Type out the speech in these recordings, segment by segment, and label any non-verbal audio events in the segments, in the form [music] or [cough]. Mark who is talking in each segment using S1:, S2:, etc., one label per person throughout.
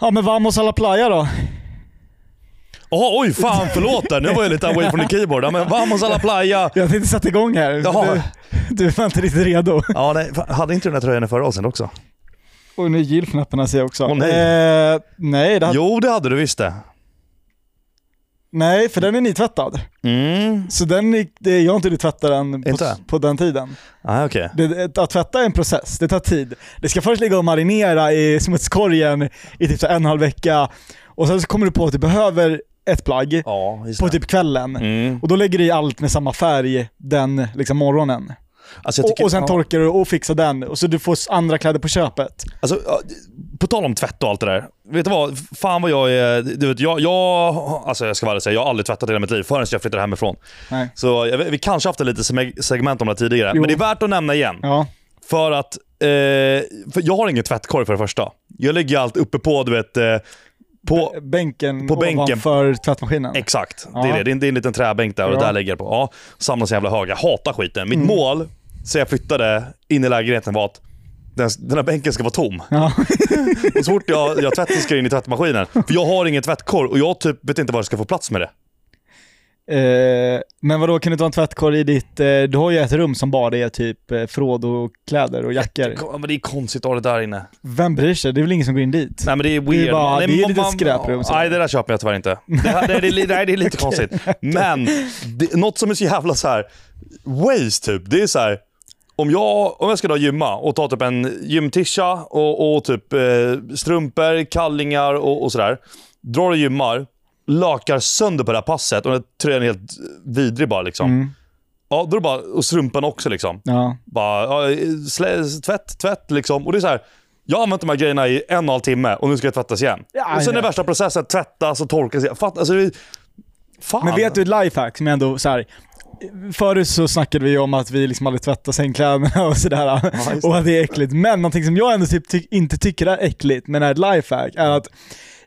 S1: Ja men vamos a la playa då.
S2: Jaha, oj fan förlåt där. Nu var jag lite away from the keyboard. Ja, men vamos a la playa.
S1: Jag tänkte sätta igång här.
S2: Jaha.
S1: Du, du var inte riktigt redo.
S2: Ja, nej, fan, hade inte du den här tröjan i förra avsnittet också?
S1: Och nu gillknapparna ser jag också.
S2: Åh, nej.
S1: Eh, nej, det hade,
S2: Jo, det hade du visst det.
S1: nej, för den är nytvättad.
S2: Mm.
S1: Så den är, det, jag har inte hunnit tvätta den på,
S2: Inte?
S1: på den tiden.
S2: Ah, okej.
S1: Det, att tvätta är en process, det tar tid. Det ska först ligga och marinera i smutskorgen i typ så här en och en halv vecka och sen så kommer du på att du behöver ett plagg
S2: Ja, just
S1: på
S2: det.
S1: typ kvällen.
S2: Mm.
S1: Och då lägger du i allt med samma färg den liksom morgonen.
S2: Alltså, jag
S1: Och,
S2: tycker,
S1: och sen
S2: ja.
S1: torkar du och fixar den och så du får s- andra kläder på köpet.
S2: Alltså, ja, på tal om tvätt och allt det där. Vet du vad? Fan vad jag är... Du vet, jag, jag, alltså jag ska vara ärlig och säga, jag har aldrig tvättat i hela mitt liv förrän jag flyttade hemifrån.
S1: Nej.
S2: Så jag, vet- vi kanske haft ett litet seg- segment om det här tidigare.
S1: Jo.
S2: Men det är värt att nämna igen.
S1: Ja.
S2: För att... Eh, för jag har ingen tvättkorg för det första. Jag lägger allt uppe på, du vet... Eh, på,
S1: Bänken
S2: på bänken.
S1: ovanför tvättmaskinen.
S2: Exakt,
S1: Ja.
S2: det, är det. Det, är en, det är en liten träbänk där och
S1: Ja.
S2: där lägger jag på. Ja, Mm. samlas jävla hög. Jag hatar skiten. Mitt mål sen jag flyttade in i lägenheten var att den, den här bänken ska vara tom.
S1: Ja. [laughs]
S2: Och så fort jag, jag tvättar ska jag in i tvättmaskinen. För jag har ingen tvättkorg och jag typ vet inte var jag ska få plats med det.
S1: Eh, men vadå, kan du inte ha en tvättkorg i ditt... Eh, du har ju ett rum som bara är typ eh, förråd och kläder och jackor.
S2: Kom, Men det är konstigt att ha det där inne.
S1: Vem bryr sig? Det är väl ingen som går in dit?
S2: Nej men det är
S1: är
S2: weird.
S1: bara-
S2: Nej,
S1: det är
S2: men
S1: lite skräprum, så.
S2: Nej det där köper jag tyvärr inte. Det, här, det, det, det, nej, det
S1: [laughs]
S2: är lite konstigt. Men det, något som är så jävla så här waste typ. Det är så här. Om jag, om jag ska då gymma och ta typ en gymtisha och, och typ eh, strumpor, kallingar och, och sådär. Drar och gymmar, lakar sönder på det här passet och den här tröjan är helt vidrig bara liksom.
S1: Mm.
S2: Ja, då är det bara, och strumpan också liksom.
S1: Ja.
S2: Bara, ja, slä, tvätt, tvätt liksom. Och det är så här, jag har använt de här grejerna i en och en halv timme och nu ska det tvättas igen.
S1: Ja,
S2: och sen
S1: ja.
S2: är värsta processen, tvättas och torkas igen. Fatt, alltså, det är, fan.
S1: Men vet du ett lifehack som är ändå så här. Förut så snackade vi om att vi liksom aldrig tvättar sängkläderna [laughs] och sådär.
S2: just det.
S1: och att det är äckligt. Men någonting som jag ändå typ ty- inte tycker är äckligt, men är ett lifehack, är att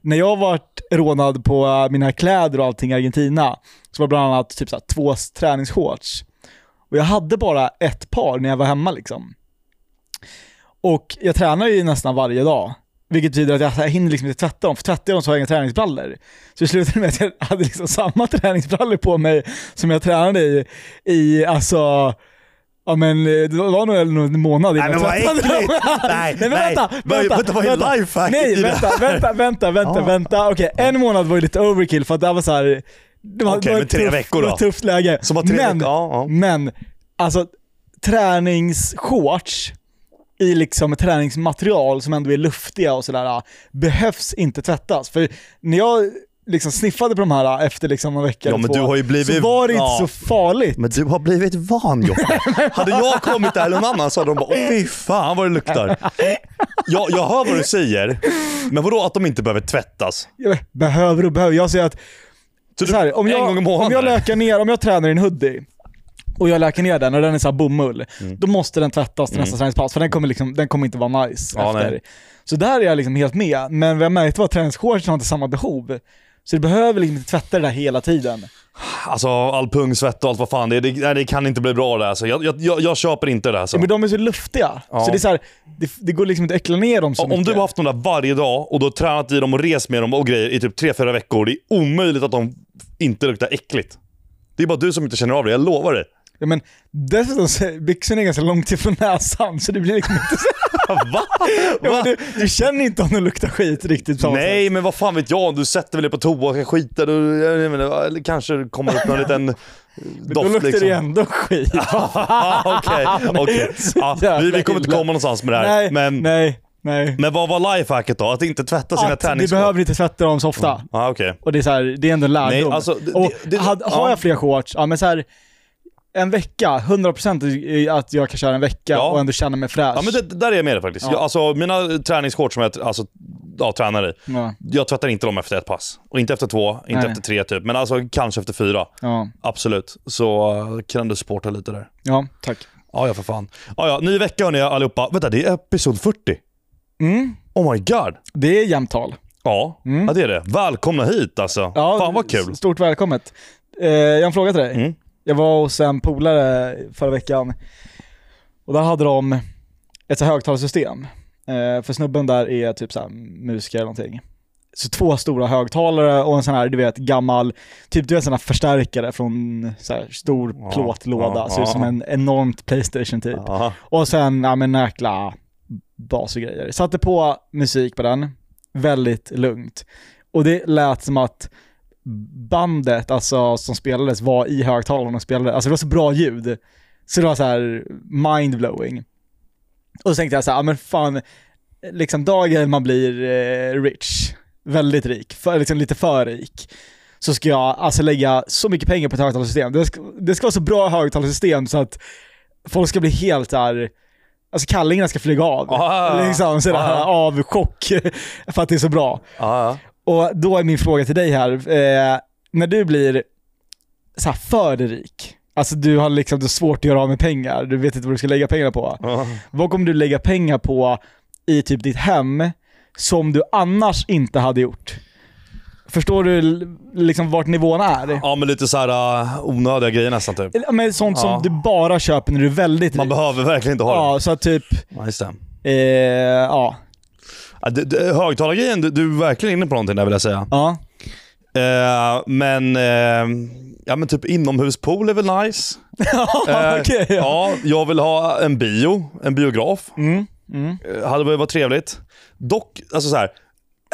S1: när jag varit rånad på äh, mina kläder och allting i Argentina, så var det bland annat typ så här, två s- träningsshorts. Och jag hade bara ett par när jag var hemma liksom. Och jag tränar ju nästan varje dag. Vilket betyder att jag, jag hinner liksom inte tvätta dem, för tvättar jag dem så har jag inga träningsbrallor. Så det slutade med att jag [laughs] hade liksom samma träningsbrallor på mig som jag tränade i, i alltså, ja men eh, det var nog en månad innan
S2: Nej men vad
S1: jag tvättade dem.
S2: äckligt! nej,
S1: [laughs] Nej men
S2: nej.
S1: vänta,
S2: Vad-
S1: vänta,
S2: vad är
S1: vänta.
S2: lifehack i
S1: Nej
S2: det Ah.
S1: vänta,
S2: här?
S1: vänta, vänta, vänta,
S2: Ja.
S1: vänta. Okej, en månad var ju lite overkill för att det var så här. Det var,
S2: Okej,
S1: det var
S2: men
S1: ett
S2: tre
S1: tufft-
S2: veckor
S1: det var
S2: då.
S1: ett tufft läge.
S2: Som var tre
S1: men,
S2: veckor, ja, ja.
S1: men, alltså träningsshorts i liksom träningsmaterial som ändå är luftiga och sådär äh, behövs inte tvättas. För när jag liksom sniffade på de här efter liksom en vecka
S2: Ja,
S1: eller
S2: men
S1: två,
S2: du har ju blivit-
S1: så var det inte
S2: ja.
S1: så farligt.
S2: Men du har blivit van Jocke. [laughs] Hade jag kommit där eller någon annan så hade de bara åh fy fan vad det luktar. Jag, jag hör vad du säger, men vadå att de inte behöver tvättas?
S1: Jag vet, Behöver och behöver. Jag säger att
S2: Så du,
S1: så här, om,
S2: en
S1: jag,
S2: gång i månaden?
S1: om jag lökar ner, om jag tränar i en hoodie och jag lökar ner den och den är så här bomull,
S2: Mm.
S1: då måste den tvättas till nästa träningspass för den kommer, liksom, den kommer inte vara nice
S2: Ja,
S1: efter.
S2: nej.
S1: Så där är jag liksom helt med, men vad jag märkte var att träningsshortsen har inte samma behov. Så du behöver liksom inte tvätta det där hela tiden.
S2: Alltså all pungsvett och allt vad fan det är. Det, nej, det kan inte bli bra det här. Så jag, jag, jag, jag köper inte det här. Så.
S1: Men de är så luftiga,
S2: Ja.
S1: så det är så här, det, det går liksom inte att äckla ner dem så
S2: Om
S1: mycket.
S2: du har haft dem där varje dag och du har tränat i dem och rest med dem och grejer i typ 3-4 veckor. Det är omöjligt att de inte luktar äckligt. Det är bara du som inte känner av det, jag lovar dig. [laughs]
S1: ja, men dessutom så är byxorna ganska långt ifrån näsan så det blir liksom inte så...
S2: Va?
S1: Ja, men
S2: Va?
S1: du, du känner inte om de luktar skit riktigt. på samma
S2: Nej, men vad fan vet jag? Du sätter väl dig på toa och ska skita. Du, jag vet inte, eller kanske det kommer upp någon liten eh, doft.
S1: Då luktar
S2: liksom.
S1: det ändå skit.
S2: [laughs] Ah,
S1: [laughs]
S2: Okej, okej. Ja, vi, vi kommer inte komma någonstans med det här.
S1: Nej,
S2: men,
S1: nej, nej.
S2: men vad var lifehacket då? Att inte tvätta sina
S1: Att vi
S2: träningsskor?
S1: behöver inte tvätta dem så ofta.
S2: Ah, okej.
S1: Och det är, så här, det är ändå en lärdom.
S2: Nej, alltså, det-
S1: och
S2: det- det-
S1: had, har
S2: ja.
S1: jag fler shorts, ja men så här, en vecka, 100% i- att jag kan köra en vecka
S2: Ja.
S1: och ändå känna mig fräsch.
S2: Ja, men det, det där är jag med dig faktiskt.
S1: Ja.
S2: Jag, alltså, mina träningskort som jag alltså, ja, tränar i,
S1: Ja,
S2: jag tvättar inte dem efter ett pass. Och inte efter två, inte
S1: Nej.
S2: efter tre typ. Men alltså kanske efter fyra.
S1: ja,
S2: Absolut. Så eh, kan du supporta lite där.
S1: ja, tack.
S2: Ja, ja för fan. Ja, ja. Ny vecka hörni allihopa. Vänta, det är episod 40.
S1: Mm,
S2: Oh my god.
S1: det är jämnt tal. Mm.
S2: Ja, ja det är det. Välkomna hit alltså.
S1: Ja,
S2: fan vad kul.
S1: s- Stort välkommet. Eh, jag har en fråga till dig.
S2: Mm.
S1: Jag var hos en polare förra veckan och där hade de ett så här högtalarsystem. Eh, för snubben där är typ så här musiker eller någonting. så två stora högtalare och en sån här, du vet, gammal, typ du vet sån här förstärkare från så här stor
S2: Ja,
S1: plåtlåda,
S2: ja,
S1: ser ut som
S2: ja.
S1: en enormt Playstation typ.
S2: Ja.
S1: Och sen, ja men jäkla bas och grejer. Satte på musik på den, väldigt lugnt. Och det lät som att bandet, alltså som spelades, var i högtalarna och spelade. Alltså det var så bra ljud. Så det var så här mindblowing. Och så tänkte jag så här, ja men fan, liksom dagen man blir eh, rich, väldigt rik, för, liksom lite för rik, så ska jag alltså lägga så mycket pengar på ett högtalarsystem. Det ska, det ska vara så bra högtalarsystem så att folk ska bli helt där, alltså kallingarna ska flyga av.
S2: Ah,
S1: liksom sådär
S2: ah.
S1: av chock [laughs] för att det är så bra.
S2: Ja.
S1: Och då är min fråga till dig här, eh, när du blir så här för rik, alltså du har liksom du har svårt att göra av med pengar, du vet inte vad du ska lägga pengarna på.
S2: Ja.
S1: Vad kommer du lägga pengar på i typ ditt hem som du annars inte hade gjort? Förstår du l- liksom vart nivån är?
S2: ja, men lite så här uh, onödiga grejer nästan typ.
S1: Ja. Men sånt
S2: Ja.
S1: som du bara köper när du är väldigt
S2: Man
S1: rik.
S2: behöver verkligen inte ha det.
S1: Ja, så att typ,
S2: Ja, just det.
S1: eh, ja.
S2: Ja, det- det- Högtalargrejen, du, du är verkligen inne på någonting där vill jag säga.
S1: ja.
S2: Eh, men, eh, ja, men typ inomhuspool är väl nice. Eh,
S1: Okej, [laughs] ja.
S2: ja, jag vill ha en bio, en biograf.
S1: Mm, mm.
S2: Eh, hade väl varit trevligt. Dock, alltså så här,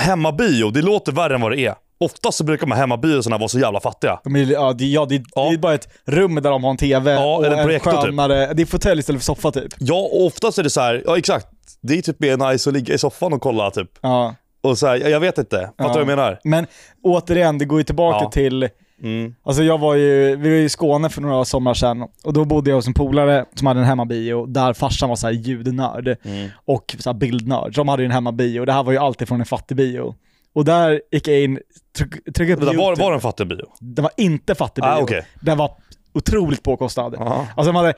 S2: hemmabio, det låter värre än vad det är. Oftast så brukar de här hemmabioserna vara så jävla fattiga.
S1: De är, ja, det, ja, det,
S2: Ja.
S1: det är bara ett rum där de har en TV
S2: Ja,
S1: och
S2: eller en
S1: en
S2: projektor, typ.
S1: skönare... Det är fåtölj istället för soffa typ.
S2: Ja, och oftast är det så här, ja exakt. Det är typ mer nice att ligga i soffan och kolla typ.
S1: Ja.
S2: Och så här, jag, jag vet inte. Fattar du
S1: Ja.
S2: vad jag menar?
S1: Men återigen, det går ju tillbaka
S2: Ja.
S1: till
S2: Mm.
S1: Alltså jag var ju, vi var ju i Skåne för några sommar sedan och då bodde jag hos en polare som hade en hemmabio där farsan var så här ljudnörd
S2: Mm.
S1: och så här bildnörd. Så De hade ju en hemmabio och det här var ju alltid från en fattig bio. Och där gick jag in, tryck- tryckte upp
S2: Vänta, var,
S1: YouTube.
S2: var det en fattig bio?
S1: Den var inte fattig bio.
S2: Ah, okej.
S1: Den var otroligt påkostad.
S2: Ja.
S1: Alltså de hade,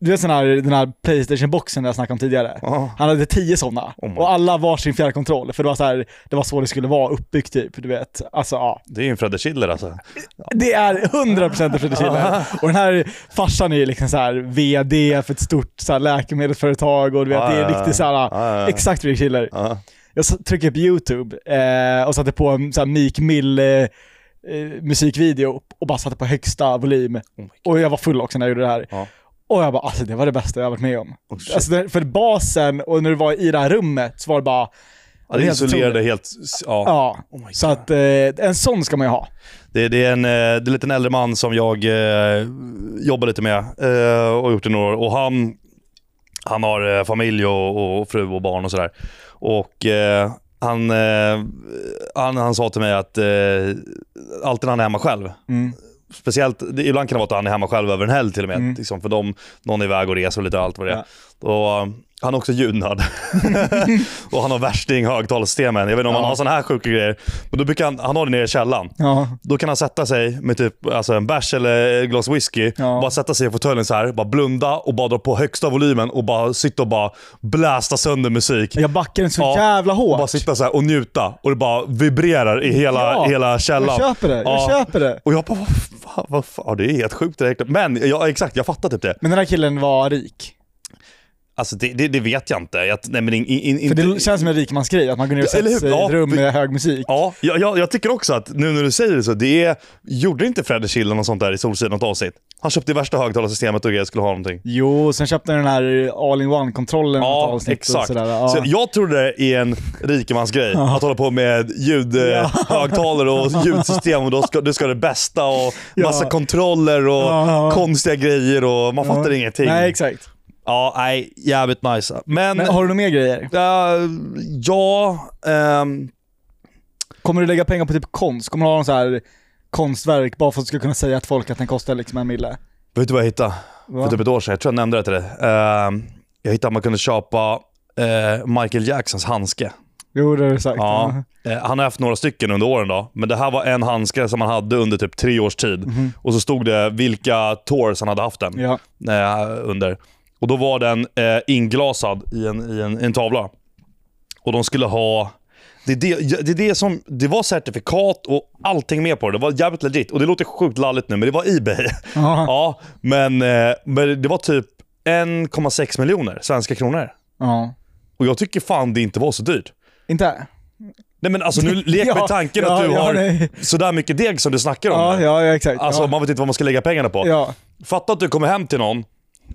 S1: du vet sån här, den här Playstation-boxen jag snackade om tidigare.
S2: Ja.
S1: Han hade tio sådana.
S2: Oh my.
S1: och alla var sin fjärrkontroll. För det var, så här, det var så det skulle vara uppbyggt typ, du vet. Alltså ja.
S2: Det är ju en Fredde Schiller alltså.
S1: Det är 100% Fredrik
S2: Ah.
S1: Schiller. Och den här farsan är ju liksom så här VD för ett stort så här läkemedelsföretag och du vet, det är
S2: Ah,
S1: riktigt så här,
S2: ah, ah.
S1: exakt Fredrik Schiller.
S2: Ja.
S1: Jag s- tryckte upp YouTube eh, och satte på en så här Meek Mill eh, eh, musikvideo och bara satte på högsta volym. och jag var full också när jag gjorde det här.
S2: Oh Ja. Oh,
S1: Och jag bara, alltså det var det bästa jag varit med om.
S2: shit.
S1: alltså, det- för basen och när du var i det här rummet så var det bara...
S2: Ja, det
S1: helt
S2: isolerade
S1: otroligt.
S2: helt. Ja.
S1: Ja,
S2: my
S1: så att eh, en sån ska man ju ha.
S2: Det, det, är en, eh, det är en liten äldre man som jag eh, jobbar lite med eh, och har gjort i några år. Och han, han har eh, familj och, och fru och barn och sådär. Och eh, han, eh, han, han sa till mig att eh, alltid när han är hemma själv,
S1: Mm.
S2: speciellt, det, ibland kan det vara att han är hemma själv över en helg till och med.
S1: Mm.
S2: Liksom, för de, någon är iväg och reser och lite allt vad det är. Och, eh, han är också ljudnörd.
S1: [laughs]
S2: [laughs] och han har värsting högtalarsystemen. Jag vet inte om han
S1: Ja.
S2: har sådana här sjuka grejer. Men då brukar han, han har det nere i källaren.
S1: Ja.
S2: Då kan han sätta sig med typ alltså en bärs eller ett glas whisky.
S1: Ja.
S2: Bara sätta sig i fåtöljen så här, bara blunda och bara dra på högsta volymen och bara sitta och bara blästa sönder musik.
S1: Jag backar den så
S2: Ja,
S1: jävla hårt.
S2: Bara sitta så här och njuta och det bara vibrerar i hela,
S1: Ja,
S2: hela källan.
S1: Jag köper det, jag
S2: Ja.
S1: köper det.
S2: Och jag bara, vad fan, vad fan, ja, det är helt sjukt det där. Men ja, exakt, jag fattar typ det.
S1: Men den här killen var rik.
S2: Alltså det, det, det vet jag inte. Jag, nej, men in, in,
S1: För
S2: inte
S1: det känns som en rikmansgrej, att man går ner och
S2: Ja, eller
S1: sätter
S2: hur?
S1: sig i
S2: Ja,
S1: ett rum
S2: vi-
S1: med hög musik.
S2: Ja, jag, jag, jag tycker också att nu när du säger det så, det är, gjorde inte Fredde Killen och sånt där i Solsidan något avsnitt? Han köpte det värsta högtalarsystemet och grejer skulle ha någonting.
S1: Jo, sen köpte den den här all-in-one-kontrollen något
S2: Ja,
S1: avsnitt
S2: exakt.
S1: och sådär. Ja.
S2: Så jag tror det är en rikemansgrej. Att hålla på med
S1: Ja. [laughs]
S2: ljudhögtalare och ljudsystem och då ska, du ska ha det bästa och
S1: Ja.
S2: massa kontroller och
S1: Ja.
S2: konstiga grejer och man
S1: Ja.
S2: fattar ingenting.
S1: Nej, exakt.
S2: ja, nej, jävligt nice. Men,
S1: Men har du några mer grejer?
S2: eh, ja, ehm,
S1: Kommer du lägga pengar på typ konst? Kommer du ha någon så här konstverk bara för att du ska kunna säga att folk att den kostar liksom en mille?
S2: vet du vad jag hittade?
S1: Va?
S2: för typ ett år sedan. Jag tror jag nämnde det till dig. Ehm, jag hittade att man kunde köpa eh, Michael Jacksons handske.
S1: Jo, det har du sagt.
S2: Ja. Eh, han har haft några stycken under åren då, men det här var en handske som han hade under typ tre års tid. Och så stod det vilka tours han hade haft den
S1: Mhm. Ja.
S2: eh, under. Och då var den eh, inglasad i en, i, en, i en tavla. Och de skulle ha... Det, är det, det, är det, som, det var certifikat och allting med på det. Det var jävligt legit. Och det låter sjukt lalligt nu, men det var Ebay. [laughs]
S1: Ja.
S2: Ja, men, eh, men det var typ 1,6 miljoner svenska kronor.
S1: ja.
S2: Och jag tycker fan det inte var så dyrt.
S1: Inte?
S2: Nej men alltså
S1: [laughs]
S2: nu lek
S1: Ja,
S2: med tanken
S1: ja,
S2: att du
S1: ja,
S2: har
S1: nej.
S2: sådär mycket deg som du snackar om.
S1: Ja,
S2: här.
S1: ja, ja, exakt.
S2: Alltså
S1: ja.
S2: man vet inte vad man ska lägga pengarna på.
S1: ja.
S2: Fatta att du kommer hem till någon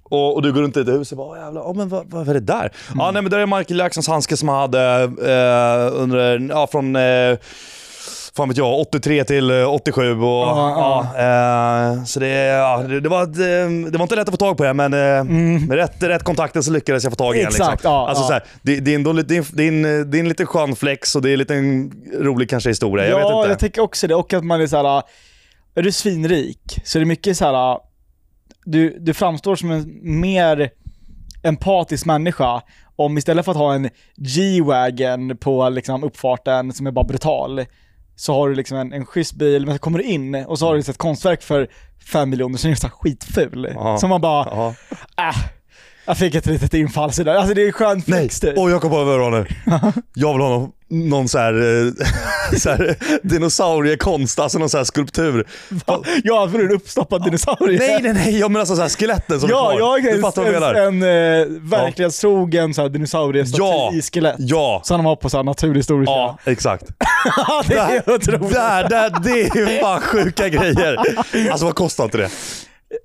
S2: och, och du går runt i ett hus och bara "Åh, jävlar, oh, men vad, vad är det
S1: Mm.
S2: där? Ja nej men det är Michael Jacksons handske som han hade eh, under, ja från, eh, fan vet jag, 83 till eh, 87 och
S1: Ja,
S2: ja, eh, så det, ja, det, det, var, ett, eh, det var inte lätt att få tag på det men eh, med rätt, rätt kontakter så lyckades jag få tag i den.
S1: Mm. Exakt,
S2: Liksom.
S1: ja,
S2: alltså,
S1: ja.
S2: Så här, det, det, är ändå, lite- det, är, det, är en, det är en liten skön flex och det är en liten rolig kanske historia, jag
S1: ja,
S2: vet inte.
S1: jag tänker också det. Och att man är så här. är du svinrik så är det mycket så här. du, du framstår som en mer empatisk människa om istället för att ha en G-Wagon på liksom uppfarten som är bara brutal, så har du liksom en, en schysst bil, men så kommer du in och så har du ett konstverk för 5 miljoner som är så här skitful.
S2: Ja.
S1: Som man bara,
S2: Ja.
S1: äh, jag fick ett litet infall sådär. Alltså det är en skön
S2: Nej,
S1: flex typ.
S2: och jag kom på vad
S1: [laughs]
S2: jag nu. Jag vill ha någon, någon så här, eh, [laughs] så här dinosauriekonst, alltså någon så här skulptur.
S1: Ja, för du är en uppstoppad dinosaurie.
S2: Nej, nej, nej, jag menar alltså så här skeletten som
S1: Ja,
S2: är
S1: jag
S2: kvar.
S1: har
S2: Du fattar vad jag menar.
S1: en, en, eh, verklighetstrogen ja. dinosauriestaty
S2: Ja.
S1: i skelett.
S2: Ja,
S1: Som de har på så här naturhistoriska.
S2: ja, exakt.
S1: [laughs] Ja, det är otroligt.
S2: Där, där, det är fan sjuka grejer. Alltså vad kostar inte det?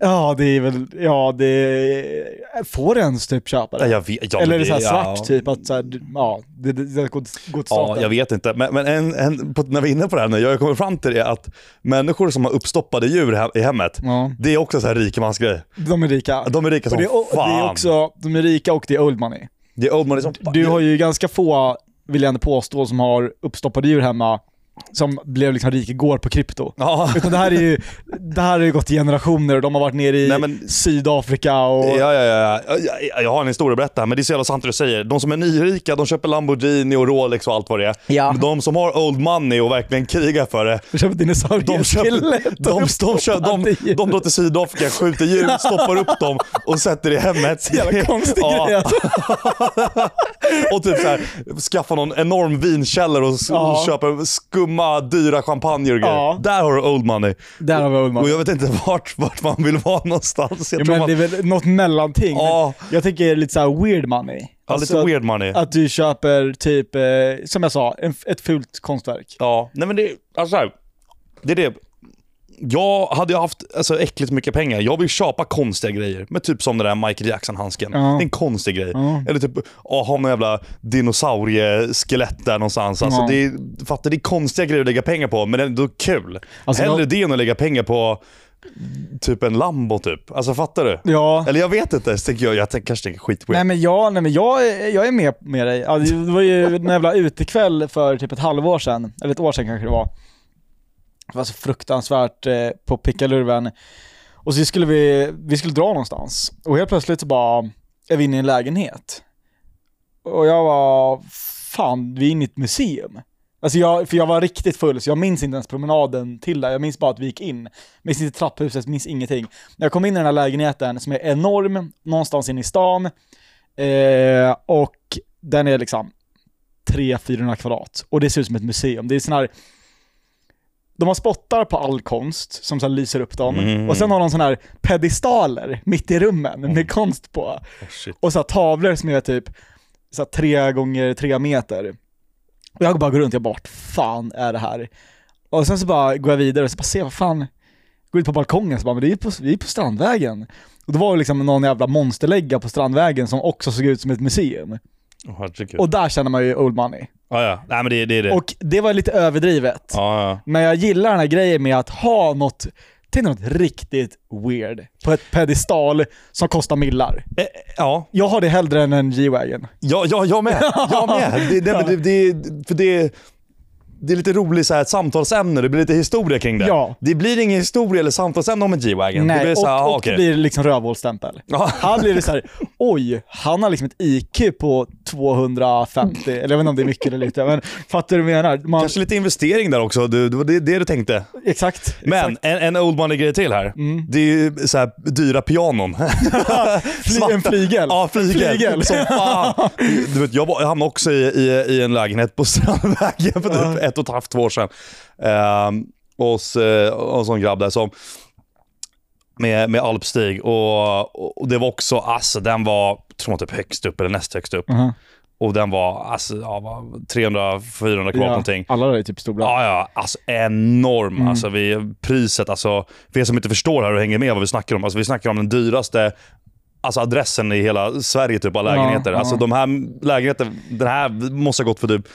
S1: Ja, det är väl, ja det är, Får du ens typ köpa det?
S2: Nej, Jag vet, ja,
S1: Eller är det
S2: men
S1: så här svart
S2: ja.
S1: typ att så här, du- ja, det, det, det går, till- går till
S2: Ja,
S1: staten?
S2: jag vet inte. Men, men en, en, på, när vi är inne på det här nu, jag kommer fram till det att människor som har uppstoppade djur he, i hemmet,
S1: Ja.
S2: det är också så här rikemansgrej.
S1: De är rika.
S2: De är rika
S1: och
S2: som
S1: det, är, o- det
S2: fan.
S1: är också, de är rika och det är old money.
S2: Det är old money som
S1: Du har ju ganska få, vill jag ändå påstå, som har uppstoppade djur hemma som blev liksom rika igår på krypto.
S2: Ja.
S1: [laughs] Utan det här är ju, det här har ju gått i generationer och de har varit nere i
S2: Nej, men-
S1: Sydafrika och... [laughs]
S2: Ja, ja, ja. Jag, jag har en historia att berätta, men det är så jävla sant det du säger. De som är nyrika, de köper Lamborghini och Rolex och allt vad det är.
S1: Ja.
S2: Men de som har old money och verkligen krigar för
S1: [laughs]
S2: det,
S1: De köper
S2: de, köper, de,
S1: dinosaurieskelett och [laughs]
S2: de, de, kö-
S1: uppstoppade
S2: de,
S1: djur.
S2: de drar till Sydafrika, skjuter djur, stoppar upp dem och sätter
S1: [laughs]
S2: i hemmet.
S1: Jävla konstig grej alltså.
S2: Och typ så här, skaffar någon enorm vinkällare och, s-
S1: Ja.
S2: och köper skumma, dyra champagne och grejer.
S1: Ja.
S2: Där har du old money.
S1: Där har vi old
S2: Och
S1: money.
S2: jag vet inte vart, vart man vill vara någonstans. Jag
S1: Ja,
S2: tror
S1: men
S2: man,
S1: det är väl något mellanting. men
S2: Ja.
S1: Jag tänker lite såhär weird money.
S2: ja,
S1: Alltså
S2: lite
S1: att-
S2: weird money.
S1: Att du köper typ, eh, som jag sa, en, ett fult konstverk.
S2: Ja, nej men det, alltså här, det är det. Jag hade ju haft alltså, äckligt mycket pengar. Jag vill köpa konstiga grejer. Men typ som den där Michael Jackson-handsken.
S1: Ja.
S2: Det är en konstig grej. Eller typ oh, ha någon jävla dinosaurieskelett där någonstans. Alltså,
S1: Ja.
S2: det, är, fattar, det är konstiga grejer att lägga pengar på, men det är ändå kul.
S1: Alltså,
S2: Hellre
S1: jag-
S2: det än att lägga pengar på typ en Lambo typ. Alltså fattar du?
S1: Ja.
S2: Eller jag vet inte. Så tänker jag, jag tänker, kanske tänker skitweird.
S1: Nej men, jag, nej men jag, är- jag är med, med dig. Ja, det var ju en jävla utekväll för typ ett halvår sedan, eller ett år sedan kanske det var. Det var så fruktansvärt eh, på pickalurven. Och så skulle vi, vi skulle dra någonstans. Och helt plötsligt så bara, är vi inne i en lägenhet. Och jag var fan, vi är inne i ett museum. Alltså jag, för jag var riktigt full så jag minns inte ens promenaden till där. Jag minns bara att vi gick in. Minns inte trapphuset, minns ingenting. När jag kom in i den här lägenheten som är enorm, någonstans inne i stan. Eh, och den är liksom 300-400 kvadrat. Och det ser ut som ett museum. Det är sån här... De har spottar på all konst som så här lyser upp dem.
S2: Mm.
S1: Och sen har de sån här pedestaler mitt i rummen med konst på.
S2: Oh, shit.
S1: Och så här, tavlor som är typ så här, tre gånger tre meter. Och jag bara går runt, jag bara vart fan är det här? Och sen så bara går jag vidare och så bara ser vad fan, går ut på balkongen så bara men det är ju på, vi är på Strandvägen. Och det var ju liksom någon jävla monsterlägga på Strandvägen som också såg ut som ett museum.
S2: Oh, herregud.
S1: Och där känner man ju old money.
S2: ja, ja. Nej men det, det är det.
S1: Och det var lite överdrivet.
S2: ja, ja.
S1: Men jag gillar den här grejen med att ha något, tänk något riktigt weird på ett pedestal som kostar millar.
S2: Eh, ja,
S1: Jag har det hellre än en G-Wagon.
S2: Ja, ja, jag med.
S1: [laughs]
S2: Jag med. Det, det, det, det, för det, det är lite roligt så här, ett samtalsämne, det blir lite historia kring det.
S1: Ja.
S2: Det blir ingen historia eller samtalsämne om en G-Wagon. Det
S1: Nej,
S2: blir
S1: och,
S2: så här,
S1: och
S2: ah, okej.
S1: det blir liksom rövhålsstämpel.
S2: Ja.
S1: Här blir det så här, oj, han har liksom ett IQ på 250, eller jag vet inte om det är mycket eller lite, men fattar du vad jag menar? Man,
S2: Kanske lite investering där också, du, det var det, det du tänkte.
S1: Exakt. Mm.
S2: Men en, en old money-grej till här. Det är ju så här,
S1: [laughs]
S2: dyra pianon. [laughs]
S1: Fly, en flygel.
S2: Ja, flygel.
S1: Flygel.
S2: Som fan. Du vet, jag, var, jag hamnade också i, i, i en lägenhet på [laughs] Strandvägen för typ ett och ett halvt två år sedan. Ehm, hos eh, en sån grabb där som med, med alpstig och, och det var också, alltså den var, tror jag typ högst upp eller näst högst upp.
S1: Mhm.
S2: Och den var alltså, ja, vad- 300-400 kvadrat någonting.
S1: alla där är typ stora.
S2: Ja, ja. Alltså enorm.
S1: Mm.
S2: Alltså, vi, priset, alltså. För er som inte förstår här och hänger med vad vi snackar om. Alltså, vi snackar om den dyraste alltså, adressen i hela Sverige, typ, av lägenheter.
S1: ja.
S2: Alltså de här lägenheterna, den här måste ha gått för typ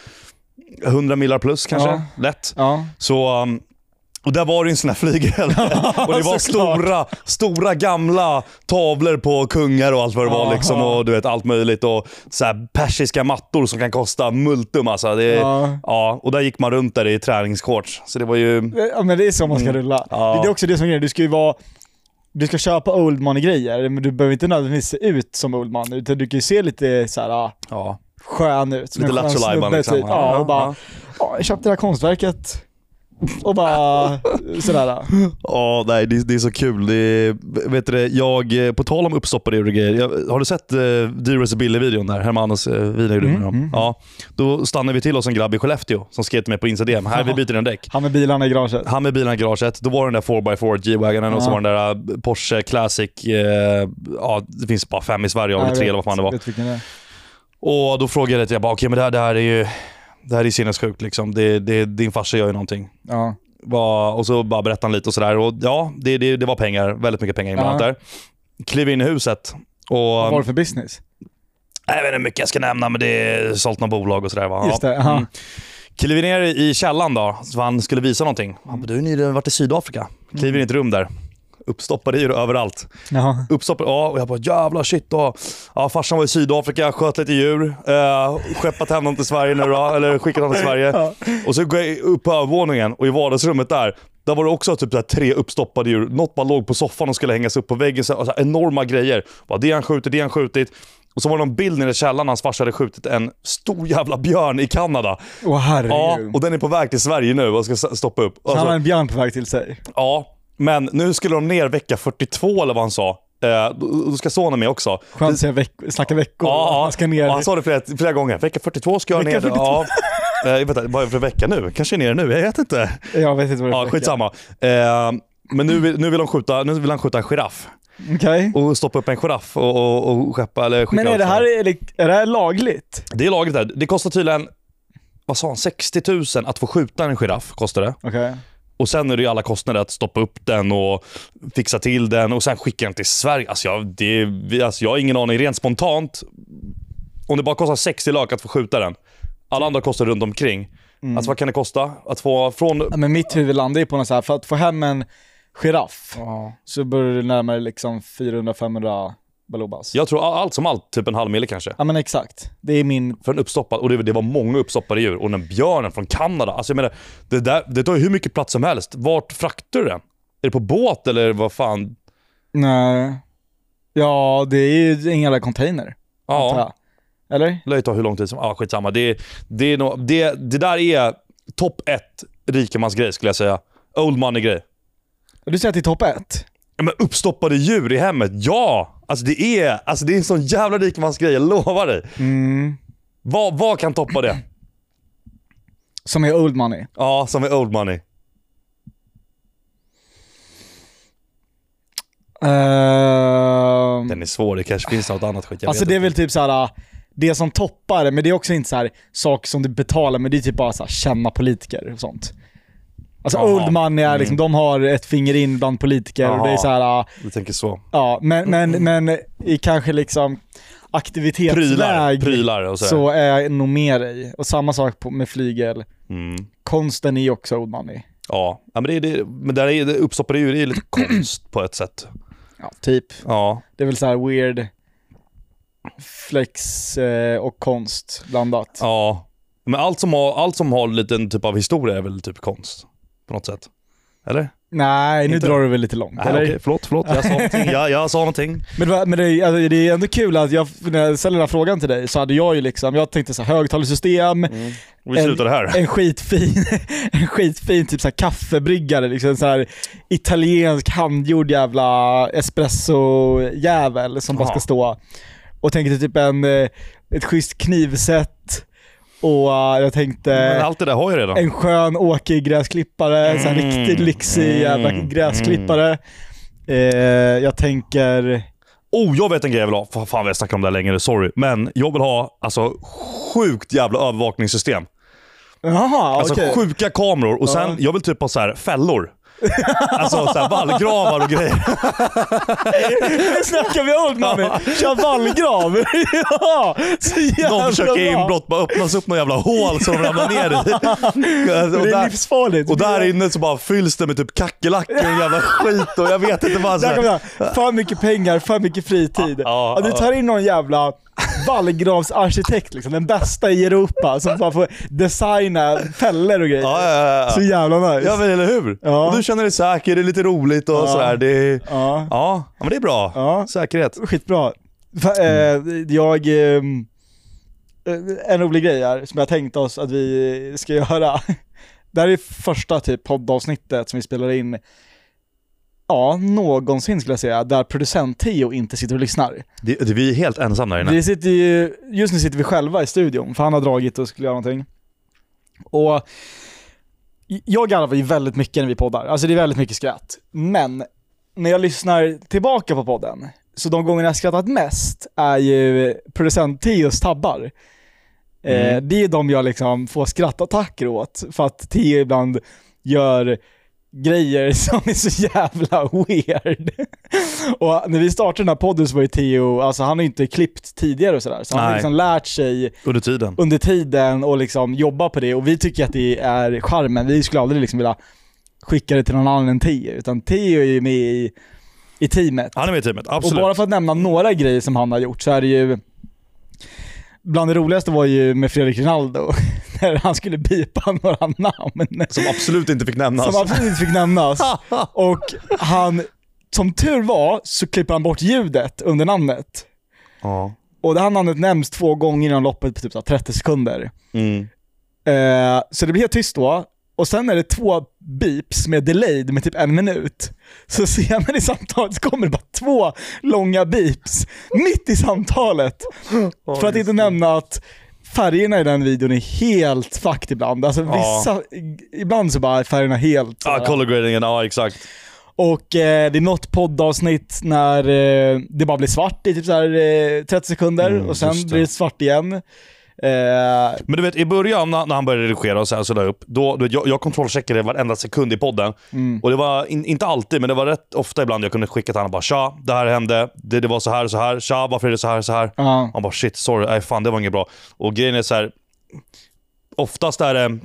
S2: 100 millar plus kanske.
S1: Ja.
S2: Lätt.
S1: Ja.
S2: Så, um, och där var det ju en sån
S1: [laughs]
S2: här flygel. och det var
S1: såklart.
S2: stora, stora gamla tavlor på kungar och allt vad det var.
S1: Ja.
S2: Liksom, och du vet, allt möjligt. Och så här persiska mattor som kan kosta multum. Alltså, det,
S1: Ja.
S2: ja. och där gick man runt där i träningsshorts. Så det var ju...
S1: Ja men det är så man ska rulla.
S2: Mm. Ja.
S1: Det är också det som är grejen, du ska ju vara du ska köpa old money-grejer, men du behöver inte nödvändigtvis se ut som old man, utan du kan ju se lite så här ah,
S2: Ja.
S1: skön ut. Som
S2: Lite
S1: en skön
S2: Lattjo Lajban
S1: snubbe,
S2: liksom.
S1: Typ. Ja,
S2: Ja,
S1: och bara, ja, jag köpte det här konstverket. Och
S2: [laughs]
S1: bara sådär.
S2: Ja, nej, det, det är så kul. Det, är- vet du, det, jag, eh, på tal om uppstoppade och grejer. Jag, har du sett eh, Dyrus Billy-videon där? Hermanos eh, video gjorde med dem. Ja, då stannade vi till oss en grabb i Skellefteå som skrev till mig på Instagram. Här, vi byter en däck.
S1: Han med bilarna i garaget.
S2: Han med bilen i garaget, då var det den där 4x4 G-Wagonen och så
S1: Ja.
S2: var det den där eh, Porsche Classic, eh, ja det finns bara fem i Sverige, eller tre eller vad fan det var.
S1: Vet vilken det är.
S2: Och då frågade jag lite, jag bara okej men det här, det här är ju det här är sinnessjukt liksom. Det, det, din farsa gör ju någonting.
S1: Ja.
S2: Vad- och så bara berättade han lite och sådär. Och ja, det, det, det var pengar, väldigt mycket pengar inblandat
S1: Ja.
S2: där. Klev in i huset
S1: Vad
S2: och...
S1: var det för business?
S2: Jag vet inte hur mycket jag ska nämna, men det är sålt något bolag och sådär. Va?
S1: Just det,
S2: Ja.
S1: ja.
S2: Mm. Kliver ner i källaren då, så han skulle visa någonting. Han bara, du har ju nyligen varit i Sydafrika. Kliver in i ett rum där. Uppstoppade djur överallt.
S1: Ja.
S2: Uppstoppade, ja, och jag bara jävlar shit. Då. Ja, farsan var i Sydafrika, sköt lite djur. Eh, skeppat hem dem till Sverige nu då, eller skickat dem till Sverige.
S1: Ja.
S2: Och så går jag upp på övervåningen och i vardagsrummet där, där var det också typ så här tre uppstoppade djur. Något bara låg på soffan och skulle hängas upp på väggen. Så här, alltså, enorma grejer. Bara, det har han skjutit, det har han skjutit. Och så var det någon bild nere i källaren hans farsa hade skjutit en stor jävla björn i Kanada.
S1: Åh
S2: Ja,
S1: herregud.
S2: och den är på väg till Sverige nu och ska s- stoppa upp.
S1: han har
S2: Alltså,
S1: en björn på väg till sig.
S2: ja, men nu skulle de ner vecka 42 eller vad han sa. Eh, då, då ska sonen med också.
S1: Skönt att säga veck snacka veckor.
S2: Ja,
S1: Han ska ner.
S2: ja, alltså- han sa det flera, flera gånger. Vecka 42 ska jag
S1: Vecka
S2: ner. Ja. Eh, vänta, vad är det för vecka nu? Kanske ner nu? Jag vet inte.
S1: Jag vet inte vad det är för
S2: Ja,
S1: vecka.
S2: skitsamma. Eh, men nu vill, nu, vill de skjuta, nu vill han skjuta en giraff.
S1: Okej.
S2: Och stoppa upp en giraff och, och, och skeppa eller skicka
S1: Men är
S2: ut
S1: det
S2: den.
S1: här, elekt- är det här lagligt?
S2: Det är lagligt där. Det kostar tydligen, vad sa han, 60 000 att få skjuta en giraff. Kostar det.
S1: Okej.
S2: Och sen är det ju alla kostnader att stoppa upp den och fixa till den och sen skicka den till Sverige. Alltså jag, det, vi- alltså jag har ingen aning. Rent spontant, om det bara kostar 60 lök att få skjuta den. Alla andra kostar runt omkring. Alltså vad kan det kosta? Att få från...
S1: Ja, men mitt huvud landar ju på något så här, för att få hem en giraff så börjar du närmare liksom 400-500 balobas. Ja.
S2: Jag tror allt som allt, typ en halv mille kanske.
S1: men exakt. Det är min...
S2: För en uppstoppad, och det, det var många uppstoppade djur. Och den björnen från Kanada. Alltså jag menar, det, där, det tar ju hur mycket plats som helst. Vart fraktar du den? Är det på båt eller vad fan?
S1: Nej. eh, Ja, det är ju en jävla container.
S2: Ja.
S1: antar jag. Eller?
S2: lär ju ta hur lång tid som Ja, skitsamma. Det, det, är nog- det, det där är topp ett rikemansgrej skulle jag säga. Old money-grej.
S1: Du säger att det är topp ett?
S2: Ja, Men uppstoppade djur i hemmet, ja! Alltså det är, alltså det är en sån jävla rikemansgrej, jag lovar dig.
S1: Mm.
S2: Vad, vad kan toppa det? [clears throat]
S1: Som är old money.
S2: Ja, som är old money.
S1: Ehm,
S2: Den är svår, det kanske finns något annat skit. Jag
S1: alltså
S2: vet
S1: det är
S2: inte.
S1: väl typ så här. det som toppar det, men det är också inte så här saker som du betalar, men det är typ bara så här, känna politiker och sånt. Alltså
S2: Jaha. Mm.
S1: old money är liksom, de har ett finger in bland politiker och det är
S2: Jaha. Mm.
S1: så här. eh,
S2: Du tänker så.
S1: Ja, men, men, men i kanske liksom
S2: Prylar,
S1: aktivitetsväg
S2: prylar och så. här.
S1: så är jag nog med dig. Och samma sak på, med flygel.
S2: Mm.
S1: Konsten är ju också old money.
S2: Ja, Ja, men, det, är- det, men där är, det uppstoppade djur är ju lite [clears throat] konst på ett sätt.
S1: Ja, typ.
S2: Ja,
S1: Det är väl så här weird flex eh, och konst blandat.
S2: ja. Men allt som har, allt som har liten typ av historia är väl typ konst? På något sätt. Eller?
S1: Nej, nu
S2: Inte-
S1: drar du väl lite långt.
S2: Nej,
S1: eller?
S2: okej, förlåt, förlåt. Jag sa [laughs] någonting. Jag, jag sa någonting.
S1: Men, det var- men det, är- alltså, det är ändå kul att jag, när jag ställde den här frågan till dig så hade jag ju liksom, jag tänkte så här, högtalarsystem,
S2: Och vi
S1: En-
S2: slutade här.
S1: en skitfin, [laughs] en skitfin typ så här kaffebryggare, liksom så här italiensk handgjord jävla espressojävel som bara
S2: Aha.
S1: ska stå. Och tänkte typ en, eh, ett schysst knivset och eh, jag
S2: Mm, Men
S1: tänkte
S2: allt det där har jag redan.
S1: en skön åkig gräsklippare, en sån här
S2: Mm.
S1: riktigt lyxig jävla
S2: Mm.
S1: gräsklippare. Eh, jag tänker
S2: Oh, jag vet en grej jag vill ha. Fan, fan vi har snackat om det här längre. Sorry. Men jag vill ha alltså, sjukt jävla övervakningssystem.
S1: Jaha,
S2: Alltså
S1: okej.
S2: sjuka kameror och sen, jag vill typ ha så här [laughs] fällor. alltså så här vallgravar och grejer.
S1: Nu [laughs] snackar vi old money. Kör vallgrav. [laughs] ja, så jävla
S2: Någon försöker
S1: bra.
S2: inbrott, bara öppnas upp något jävla hål som de ramlar [laughs] ner i. Alltså, och,
S1: Det är
S2: där,
S1: livsfarligt.
S2: och där inne så bara fylls det med typ kackerlackor och jävla skit och jag vet inte vad. Så
S1: Där kommer
S2: här.
S1: det här. För mycket pengar, för mycket fritid.
S2: Ja,
S1: Ja, du tar in någon jävla vallgravsarkitekt, liksom, den bästa i Europa, som bara får designa fällor och grejer.
S2: Ja, ja, ja,
S1: Så
S2: ja.
S1: jävla nice.
S2: ja men eller hur?
S1: Ja.
S2: Och du känner dig säker, det är lite roligt och sådär. Det är, ja.
S1: Ja,
S2: men det är bra.
S1: Ja.
S2: Säkerhet.
S1: skitbra. Va- eh, Jag... ehm, eh, En rolig grej här, som jag tänkt oss att vi ska göra. [laughs] Det här är första typ poddavsnittet som vi spelar in, ja, någonsin skulle jag säga, där producent-Theo inte sitter och lyssnar.
S2: Det, det, vi är helt ensamma där inne.
S1: Vi sitter ju, just nu sitter vi själva i studion, för han har dragit och skulle göra någonting. Och jag garvar ju väldigt mycket när vi poddar, alltså det är väldigt mycket skratt. Men när jag lyssnar tillbaka på podden, så de gånger jag skrattat mest är ju producent Theos tabbar. Eh,
S2: Mm.
S1: det är de jag liksom får skrattattacker åt, för att Theo ibland gör grejer [laughs] som är så jävla weird. [laughs] Och när vi startade den här podden så var ju Theo, alltså han har ju inte klippt tidigare och sådär, så han har
S2: Nej.
S1: liksom lärt sig
S2: Under tiden.
S1: under tiden och liksom jobba på det och vi tycker att det är charmen. Vi skulle aldrig liksom vilja skicka det till någon annan än Theo, utan Theo är ju med i, i teamet.
S2: Han är med i teamet,
S1: Och
S2: absolut.
S1: bara för att nämna några grejer som han har gjort så är det ju Bland det roligaste var ju med Fredrik Rinaldo, [laughs] när han skulle bipa några namn
S2: Som absolut inte fick nämnas.
S1: som absolut inte fick nämnas. Och han, som tur var, så klipper han bort ljudet under namnet.
S2: [laughs] Ja.
S1: Och det här namnet nämns två gånger inom loppet på typ så här 30 sekunder.
S2: Mm.
S1: Eh, så det blir helt tyst då. Och sen är det två beeps med delayed med typ en minut. Så senare i samtalet så kommer det bara två långa beeps mitt i samtalet. För att inte nämna att färgerna i den videon är helt fucked ibland. Alltså
S2: Ja.
S1: vissa, ibland så bara är färgerna helt... så
S2: Ja,
S1: här-
S2: color gradingen, ja exakt.
S1: Och eh, det är något poddavsnitt när eh, det bara blir svart i typ så här, eh, 30 sekunder
S2: Mm,
S1: och sen
S2: just det.
S1: blir det svart igen. Eh,
S2: Men du vet, i början när när han började redigera och sen så la jag upp, då, du vet, jag, jag kontrollcheckade varenda sekund i podden. Och det var in, inte alltid, men det var rätt ofta ibland jag kunde skicka till honom och bara “Tja, det här hände, det, det var så här och så här, tja, varför är det så här och så här?”
S1: ja.
S2: Han bara “Shit, sorry, nej fan det var inget bra”. Och grejen är så här, oftast är det,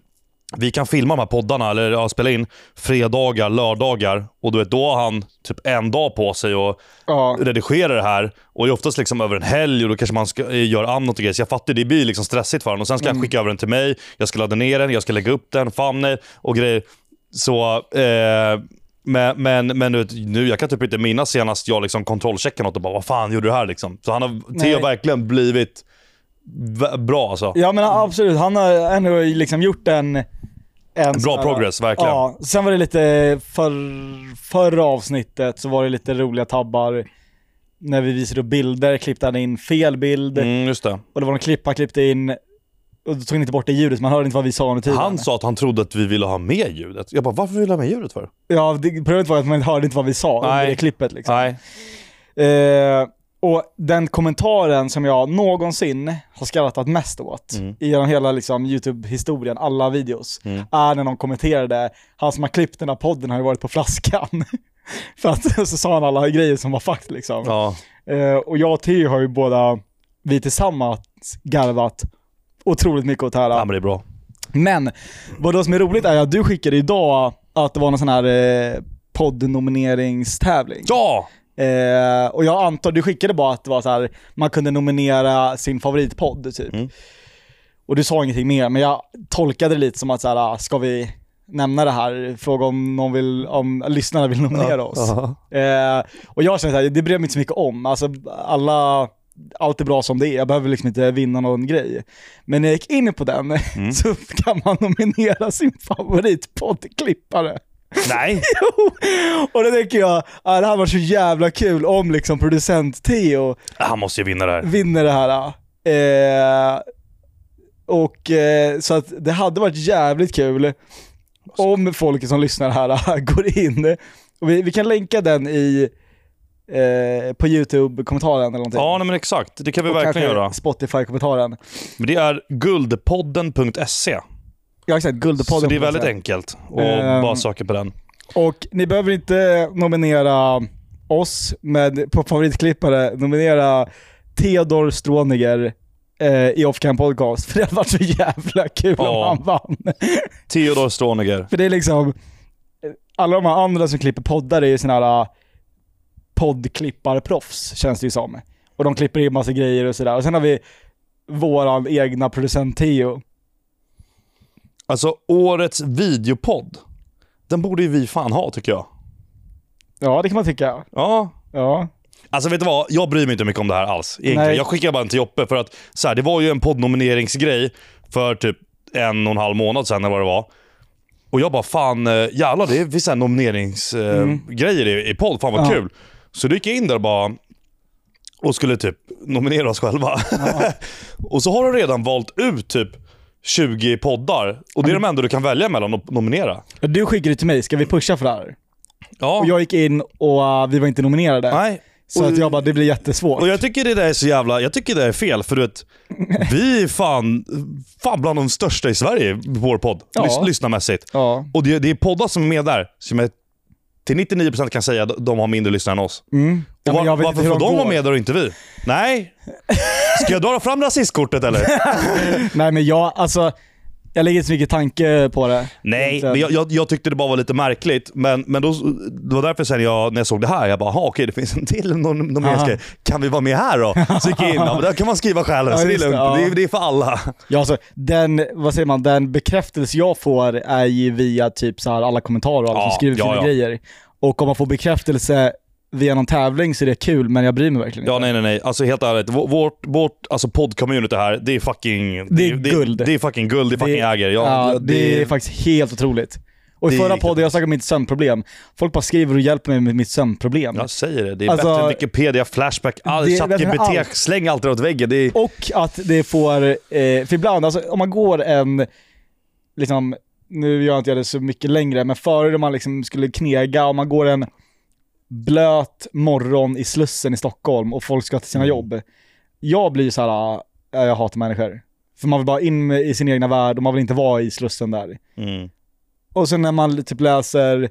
S2: vi kan filma de här poddarna, eller ja, spela in, fredagar, lördagar. Och du vet, då har han typ en dag på sig och
S1: ja.
S2: redigera det här och det är oftast liksom över en helg och då kanske man ska, eh, gör annat och grejer. Så jag fattar, det blir liksom stressigt för honom. Och sen ska han skicka över den till mig, jag ska ladda ner den, jag ska lägga upp den, thumbnail och grejer. Så, eh, men, men, men du vet, nu, jag kan typ inte minnas senast jag liksom kontrollcheckade något och bara vad fan gjorde du här liksom? Så han har, Theo
S1: Nej.
S2: har verkligen blivit v- bra alltså.
S1: ja men absolut, han har ändå liksom gjort en... en sån
S2: Bra
S1: här-
S2: progress, verkligen.
S1: Ja, sen var det lite, för, förra avsnittet så var det lite roliga tabbar. När vi visade upp bilder klippte han in fel bild
S2: Mm, just det.
S1: och det var någon klipp han klippte in och då tog han inte bort det ljudet, man hörde inte vad vi sa under tiden.
S2: Han sa att han trodde att vi ville ha med ljudet. Jag bara, varför vill du ha med ljudet för?
S1: Ja, det, problemet var att man hörde inte vad vi sa under
S2: Nej.
S1: det klippet. Liksom.
S2: Nej.
S1: Eh, och den kommentaren som jag någonsin har skrattat mest åt
S2: Mm.
S1: genom hela liksom, YouTube-historien, alla videos,
S2: Mm.
S1: är när någon kommenterade, han som har klippt den här podden har ju varit på flaskan. [laughs] För att [laughs] så sa han alla grejer som var fakt liksom.
S2: Ja.
S1: Eh, och jag och Theo har ju båda, vi tillsammans, garvat otroligt mycket åt det här.
S2: ja, men det är bra.
S1: Men vad då som är roligt är att du skickade idag att det var någon sån här eh, poddnomineringstävling.
S2: Ja!
S1: Eh, och jag antar, du skickade bara att det var så här, man kunde nominera sin favoritpodd typ.
S2: Mm.
S1: Och du sa ingenting mer, men jag tolkade det lite som att så här, ah, ska vi nämna det här? Fråga om någon vill, om lyssnarna vill nominera oss.
S2: Ja.
S1: Eh, och jag känner såhär, det bryr jag mig inte så mycket om. Alltså alla, allt är bra som det är. Jag behöver liksom inte vinna någon grej. Men när jag gick in på den [laughs]
S2: Mm.
S1: så kan man nominera sin favoritpoddklippare.
S2: Nej.
S1: [laughs] och då tänker jag, ah, det här var så jävla kul om liksom producent Theo
S2: Han måste ju vinna det här.
S1: vinner det här. ah." Eh, och eh, så att det hade varit jävligt kul ah, [laughs] om folk som lyssnar här går in. Och vi, vi kan länka den i eh, på YouTube-kommentaren eller någonting.
S2: Ja, nej, men exakt. Det kan vi
S1: Och
S2: verkligen
S1: kanske
S2: göra.
S1: Spotify-kommentaren.
S2: Men det är guldpodden.se.
S1: Ja exakt, Guldpodden.
S2: E. Så det är
S1: på något
S2: väldigt
S1: sätt.
S2: enkelt att
S1: E. Ehm.
S2: bara söka på den.
S1: Och ni behöver inte nominera oss, men på favoritklippare, nominera Theodor Stråniger eh, i Offcam Podcast. [laughs] För det hade varit så jävla kul
S2: Ja.
S1: om han vann.
S2: Theodor Stråniger.
S1: För det är liksom, eh, alla de här andra som klipper poddar är ju såna här eh, poddklipparproffs, känns det ju som. Och de klipper in massa grejer och sådär. Och sen har vi våran egna producent Theo.
S2: Alltså, årets videopodd. Den borde ju vi fan ha, tycker jag.
S1: Ja, det kan man tycka.
S2: Ja.
S1: Ja.
S2: Alltså vet du vad, jag bryr mig inte mycket om det här alls. Egentligen.
S1: Nej.
S2: Jag skickar bara en till Joppe för att så här, det var ju en poddnomineringsgrej för typ en och en halv månad sedan eller vad det var. Och jag bara fan, eh, jävlar det finns nomineringsgrejer eh, grejer i, i podd, fan vad
S1: Ja.
S2: kul. Så då gick jag in där och bara och skulle typ nominera oss själva. [laughs] och så har de redan valt ut typ 20 poddar. Och det är de enda du kan välja mellan att nominera.
S1: Du skickade det till mig, ska vi pusha för det här?
S2: Ja,
S1: Och jag gick in och eh, vi var inte nominerade.
S2: nej.
S1: Så
S2: Och-
S1: att jag bara, det blir jättesvårt.
S2: Och jag tycker det där är så jävla, jag tycker det där är fel för du vet, vi är fan, fan bland de största i Sverige, vår podd,
S1: Ja.
S2: lys, lyssnarmässigt.
S1: Ja.
S2: Och det, det är poddar som är med där, som jag till 99% kan säga att de har mindre lyssnare än oss.
S1: Ja,
S2: Och
S1: men jag
S2: var,
S1: vet
S2: varför
S1: inte hur
S2: får
S1: de
S2: de vara
S1: går.
S2: med där och inte vi? Nej. Ska jag dra fram
S1: [laughs]
S2: rasistkortet eller?
S1: Nej men jag, alltså, jag lägger inte så mycket tanke på det.
S2: Nej,
S1: Egentligen.
S2: men jag, jag, jag tyckte det bara var lite märkligt. Men, men då, det var därför sen jag, när jag såg det här, jag bara, aha, okej det finns en till nom- nomineringsgrej. Kan vi vara med här då? Så gick jag in, ja, men där kan man skriva
S1: [laughs]
S2: själv.
S1: Ja,
S2: så det är
S1: just det,
S2: lugnt,
S1: ja.
S2: det, är- det är för alla.
S1: Ja, alltså, den, vad säger man, den bekräftelse jag får är ju via typ så här alla kommentarer och alla
S2: Ja,
S1: som skriver
S2: ja,
S1: sina
S2: ja.
S1: grejer. Och om man får bekräftelse via någon tävling så är det kul, men jag bryr mig verkligen
S2: Ja,
S1: inte.
S2: nej, nej, nej. Alltså helt ärligt, vår- vårt, vårt alltså, podd-community här, det är fucking...
S1: Det är guld.
S2: Det, är fucking guld, det är fucking äger.
S1: Ja,
S2: Ja,
S1: det, är faktiskt helt otroligt. Och
S2: Det
S1: i
S2: är
S1: förra
S2: riktigt
S1: podden jag snackade om mitt sömnproblem. Folk bara skriver och hjälper mig med mitt sömnproblem.
S2: Jag säger det, det är
S1: Alltså-
S2: bättre än Wikipedia, Flashback, all
S1: Det är
S2: ChatGPT,
S1: bättre än allt.
S2: släng allt det åt väggen. Det är,
S1: Och att det får, eh, för ibland, alltså om man går en, liksom, nu gör inte jag det så mycket längre, men förr när man liksom skulle knega, om man går en blöt morgon i Slussen i Stockholm och folk ska till
S2: Mm.
S1: sina jobb. Jag blir så här, äh, jag hatar människor. För man vill bara in i sin egna värld och man vill inte vara i Slussen där.
S2: mm.
S1: Och sen när man typ läser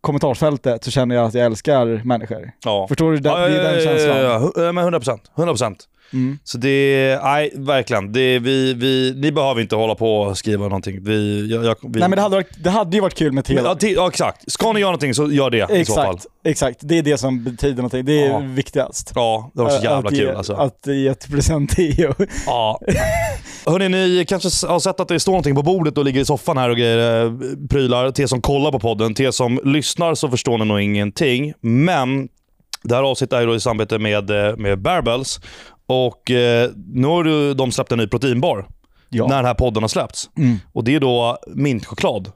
S1: kommentarsfältet så känner jag att jag älskar människor.
S2: ja.
S1: Förstår du? Det, det är den känslan.
S2: Ja, ja, ja. Men 100 procent. 100 procent.
S1: Mm.
S2: Så det, nej verkligen. Det, vi, vi, ni behöver inte hålla på och skriva någonting. Vi, jag, jag, vi,
S1: Nej men det hade, varit, det hade ju varit kul med
S2: Men,
S1: Theo.
S2: ja, ti- ja, exakt. Ska ni göra någonting så gör det i så fall.
S1: Exakt, exakt. Det är det som betyder någonting. Det är
S2: Ja.
S1: viktigast.
S2: Ja, det var så jävla
S1: att ge,
S2: kul alltså.
S1: Att ge ett present till EU.
S2: Ja. [laughs] Hörrni, ni kanske s- har sett att det står någonting på bordet och ligger i soffan här och grejer, eh, prylar. Till er som kollar på podden, till er som lyssnar så förstår ni nog ingenting. Men det här avsnittet är ju då i samarbete med, eh, med Barbells. Och eh, nu har du, de släppt en ny proteinbar
S1: Ja.
S2: när den här podden har släppts.
S1: Mm.
S2: Och det är då mintchoklad.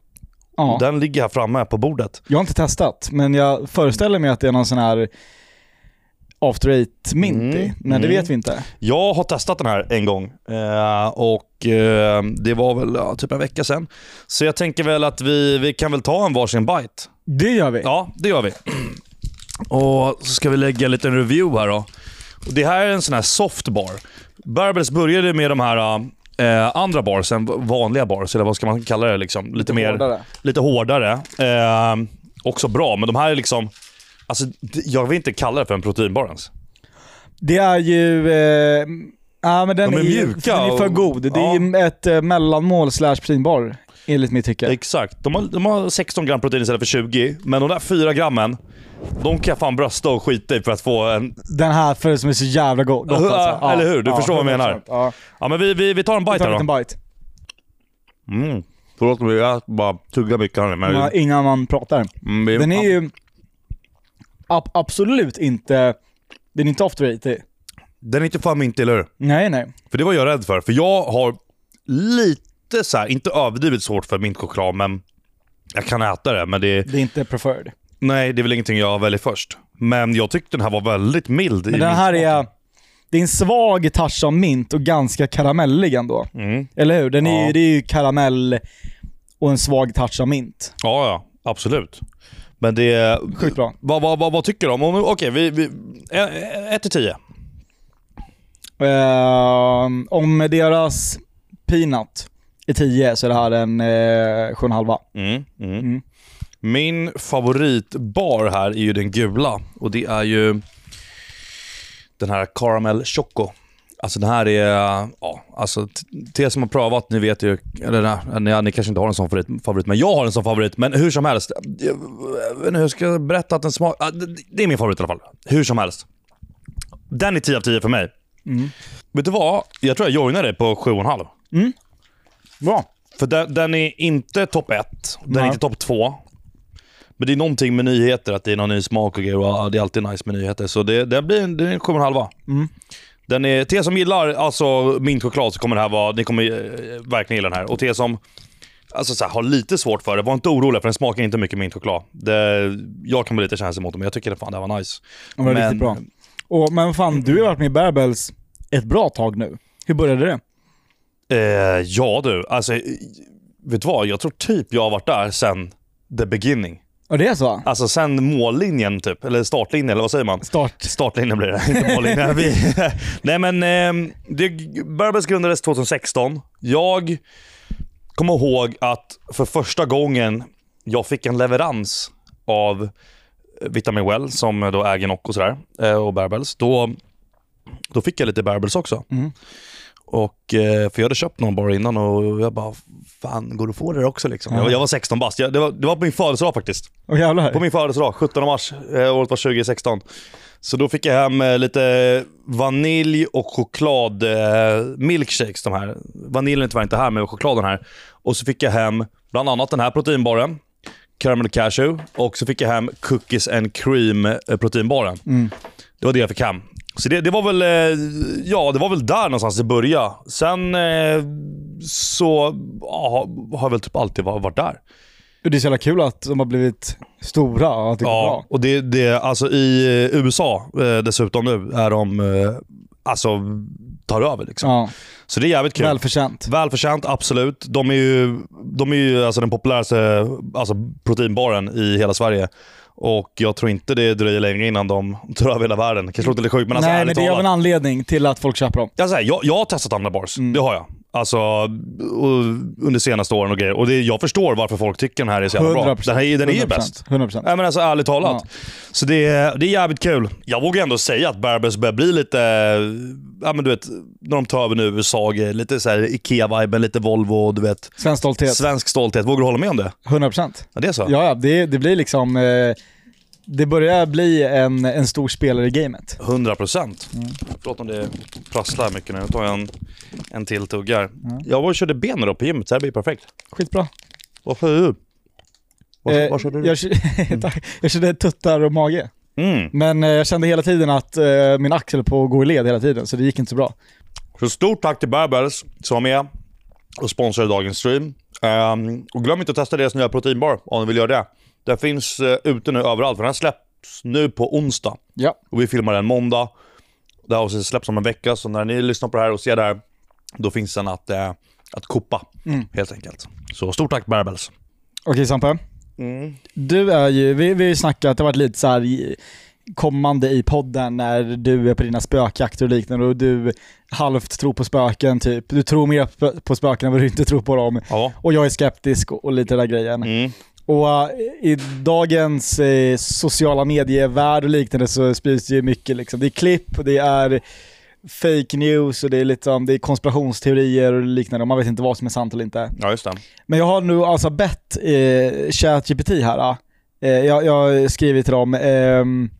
S1: Ja.
S2: Den ligger här framme på bordet.
S1: Jag har inte testat, men jag föreställer mig att det är någon sån här after eight mint i.
S2: Mm,
S1: Men det
S2: mm.
S1: vet vi inte.
S2: Jag har testat den här en gång eh, och eh, det var väl ja, typ en vecka sedan. Så jag tänker väl att vi, vi kan väl ta en varsin bite.
S1: Det gör vi.
S2: Ja, det gör vi. Och så ska vi lägga en liten review här då. Och Det här är en sån här softbar. Barbells började med de här eh, andra barsen, vanliga bars, eller vad ska man kalla det? Liksom? Lite, mer,
S1: hårdare.
S2: Lite hårdare. Eh, också bra, men de här är liksom... Alltså, d- jag vill inte kalla det för en proteinbar ens.
S1: Det är ju... Eh, ja, men den
S2: De är
S1: är, ju-
S2: mjuka
S1: Den är för
S2: och-
S1: god. Det är ju ett eh, mellanmål slash proteinbar, enligt mitt tycke.
S2: Exakt. De har, de har 16 gram protein istället för 20, men de där 4 grammen, de kan jag fan brösta och skita i för att få en...
S1: Den här för som är så jävla go-
S2: [laughs]
S1: gott
S2: Ja,
S1: alltså. Ja,
S2: eller hur? Du
S1: ja,
S2: förstår vad jag menar.
S1: 100%. Ja.
S2: Ja, men vi, vi, vi tar en
S1: Vi
S2: bite
S1: tar
S2: här
S1: en
S2: då.
S1: liten bite.
S2: Mm. Förlåt mig, jag bara tuggar mycket här nu. Men
S1: Ja, Innan man pratar.
S2: Mm, vi-
S1: Den är ju ab- absolut inte, den är inte after 80.
S2: den är inte fan mint, eller hur?
S1: Nej nej.
S2: För det var jag rädd för. För jag har lite så här, inte överdrivet svårt för mintchoklad, men jag kan äta det. Men det,
S1: Det är inte preferred.
S2: nej, det är väl ingenting jag väljer först. Men jag tyckte den här var väldigt mild. i
S1: Men den här
S2: mintsmaken.
S1: är, det är en svag touch av mint och ganska karamellig ändå.
S2: Mm.
S1: Eller hur? Den är, ju-
S2: Ja.
S1: Det är ju karamell och en svag touch av mint.
S2: Ja, ja. Absolut. Men det är...
S1: Sjukt bra.
S2: Vad, vad, vad, vad tycker du om... om- Okej, vi... vi 1 till 10.
S1: Ehm, om deras peanut är 10 så är det här en eh, 7,5.
S2: Mm, mm.
S1: Mm.
S2: Min favoritbar här är ju den gula och det är ju den här Caramel Choco. Alltså den här är, ja, alltså t- till er som har prövat, ni vet ju, eller nej, ni, ni kanske inte har en sån favorit, favorit, men jag har en sån favorit. Men hur som helst, jag vet inte hur jag ska berätta att den smakar, det är min favorit i alla fall. Hur som helst. Den är 10 av 10 för mig.
S1: Mm.
S2: Vet du vad? Jag tror jag joinar dig på 7,5.
S1: Bra.
S2: För den, den är inte topp ett, den är
S1: Nej.
S2: inte topp två. Men det är någonting med nyheter, att det är någon ny smak och grejer. Och ja, det är alltid nice med nyheter. Så det, det blir en, det är en 7,5.
S1: Mm.
S2: Den är, till er som gillar alltså, mint choklad så kommer det här vara, ni kommer eh, verkligen gilla den här. Och till er som alltså, så här, har lite svårt för det, var inte oroliga för den smakar inte mycket mint choklad. Det, jag kan bli lite känslig mot det, men jag tycker fan det här var nice.
S1: Den var
S2: Men-
S1: riktigt bra. Och, men fan, du har varit med i Bärbels ett bra tag nu. Hur började det?
S2: Eh, ja du, alltså eh, vet du vad? Jag tror typ jag har varit där sen the beginning.
S1: Ja, det är så?
S2: Alltså sen mållinjen typ, eller startlinjen eller vad säger man?
S1: Start.
S2: Startlinjen blir det, [laughs] inte mållinjen. Vi, [laughs] nej men, eh, det, Barbers grundades 2016. Jag kommer ihåg att för första gången jag fick en leverans av eh, Vitamin Well, som då äger Nocco och sådär, eh, och Barbels. Då, då fick jag lite Barbels också.
S1: Mm.
S2: Och, eh, för jag hade köpt någon bara innan och jag bara, fan går du få det där också liksom?
S1: Ja.
S2: Jag, var- jag var 16 bast, jag, det, var, det var på min födelsedag faktiskt.
S1: Åh jävlar.
S2: På min födelsedag, 17 mars. Eh, året var 2016. Så då fick jag hem eh, lite vanilj och choklad eh, milkshakes. De här. Vaniljen är tyvärr inte här, men chokladen här. Och så fick jag hem bland annat den här proteinbaren. Caramel cashew. Och så fick jag hem cookies and cream eh, proteinbaren.
S1: Mm.
S2: Det var det jag fick hem. Så det, det var väl eh, ja, det var väl där någonstans det började. Sen eh, så ja, har jag väl typ alltid va- varit där.
S1: Och Det är så jävla kul att de har blivit stora och att det går
S2: Ja,
S1: bra.
S2: och det, det, alltså i eh, USA eh, dessutom nu är de, eh, alltså tar över liksom.
S1: Ja,
S2: Så det är jävligt kul.
S1: välförtjänt.
S2: Välförtjänt, absolut. De är ju, de är ju alltså den populäraste alltså proteinbaren i hela Sverige. Och jag tror inte det dröjer länge innan de [laughs] tar över hela världen. Kanske låter lite sjukt, men alltså
S1: Nej,
S2: ärligt
S1: men det är av
S2: talat.
S1: en anledning till att folk köper dem.
S2: Jag, säger, jag, jag har testat andra bars,
S1: Mm.
S2: det har jag. Alltså, och, under senaste åren och grejer. Och det, jag förstår varför folk tycker den här är så jävla bra.
S1: 100%.
S2: Den, här, är- den är ju
S1: 100%,
S2: bäst.
S1: 100%.
S2: Nej men alltså ärligt talat. Så det är, det är jävligt kul. Jag vågar ändå säga att Barbers börjar bli lite, ja men du vet, när de tar över nu USA, grejer, lite så här Ikea-viben, lite Volvo, du vet.
S1: Svensk stolthet.
S2: Svensk stolthet. Vågar du hålla med om det?
S1: 100%.
S2: Ja, det är så?
S1: Ja, ja det, det blir liksom... Eh, det börjar bli en, en stor spelare i gamet.
S2: 100 procent.
S1: Mm.
S2: Förlåt om det prasslar mycket nu. Nu tar jag en, en till tuggar.
S1: Mm.
S2: Jag var och körde ben då på gymmet, så det här blir perfekt.
S1: Skitbra.
S2: Varför är du? Var,
S1: Eh,
S2: var körde du?
S1: jag, [laughs] tack. jag körde tuttar och mage.
S2: Mm.
S1: Men eh, jag kände hela tiden att eh, min axel på att gå i led hela tiden, så det gick inte så bra.
S2: Så stort tack till Barbers som var med och sponsrade dagens stream. Ehm, och glöm inte att testa deras nya proteinbar om ni vill göra det. Den finns uh, ute nu överallt, för den här släpps nu på onsdag.
S1: Ja.
S2: Och vi filmar den måndag. Det här avsnittet släpps om en vecka, så när ni lyssnar på det här och ser det här, då finns den att, eh, att koppa. Helt enkelt. Så stort tack Barbels.
S1: Okej Sampe. Du är ju, vi, vi har ju snackat, det har varit lite så här i- kommande i podden när du är på dina spökjakter och liknande och du halvt tror på spöken typ. Du tror mer på- på spöken än vad du inte tror på dem.
S2: Ja.
S1: Och jag är skeptisk och, och lite den där grejen.
S2: Mm.
S1: Och eh, i dagens eh, sociala medievärld och liknande så sprids det ju mycket liksom. Det är klipp, det är fake news och det är, liksom, det är konspirationsteorier och liknande. Och man vet inte vad som är sant eller inte.
S2: Ja, just det.
S1: Men jag har nu alltså bett eh, ChatGPT här. Eh, jag, jag har skrivit till dem, ehm,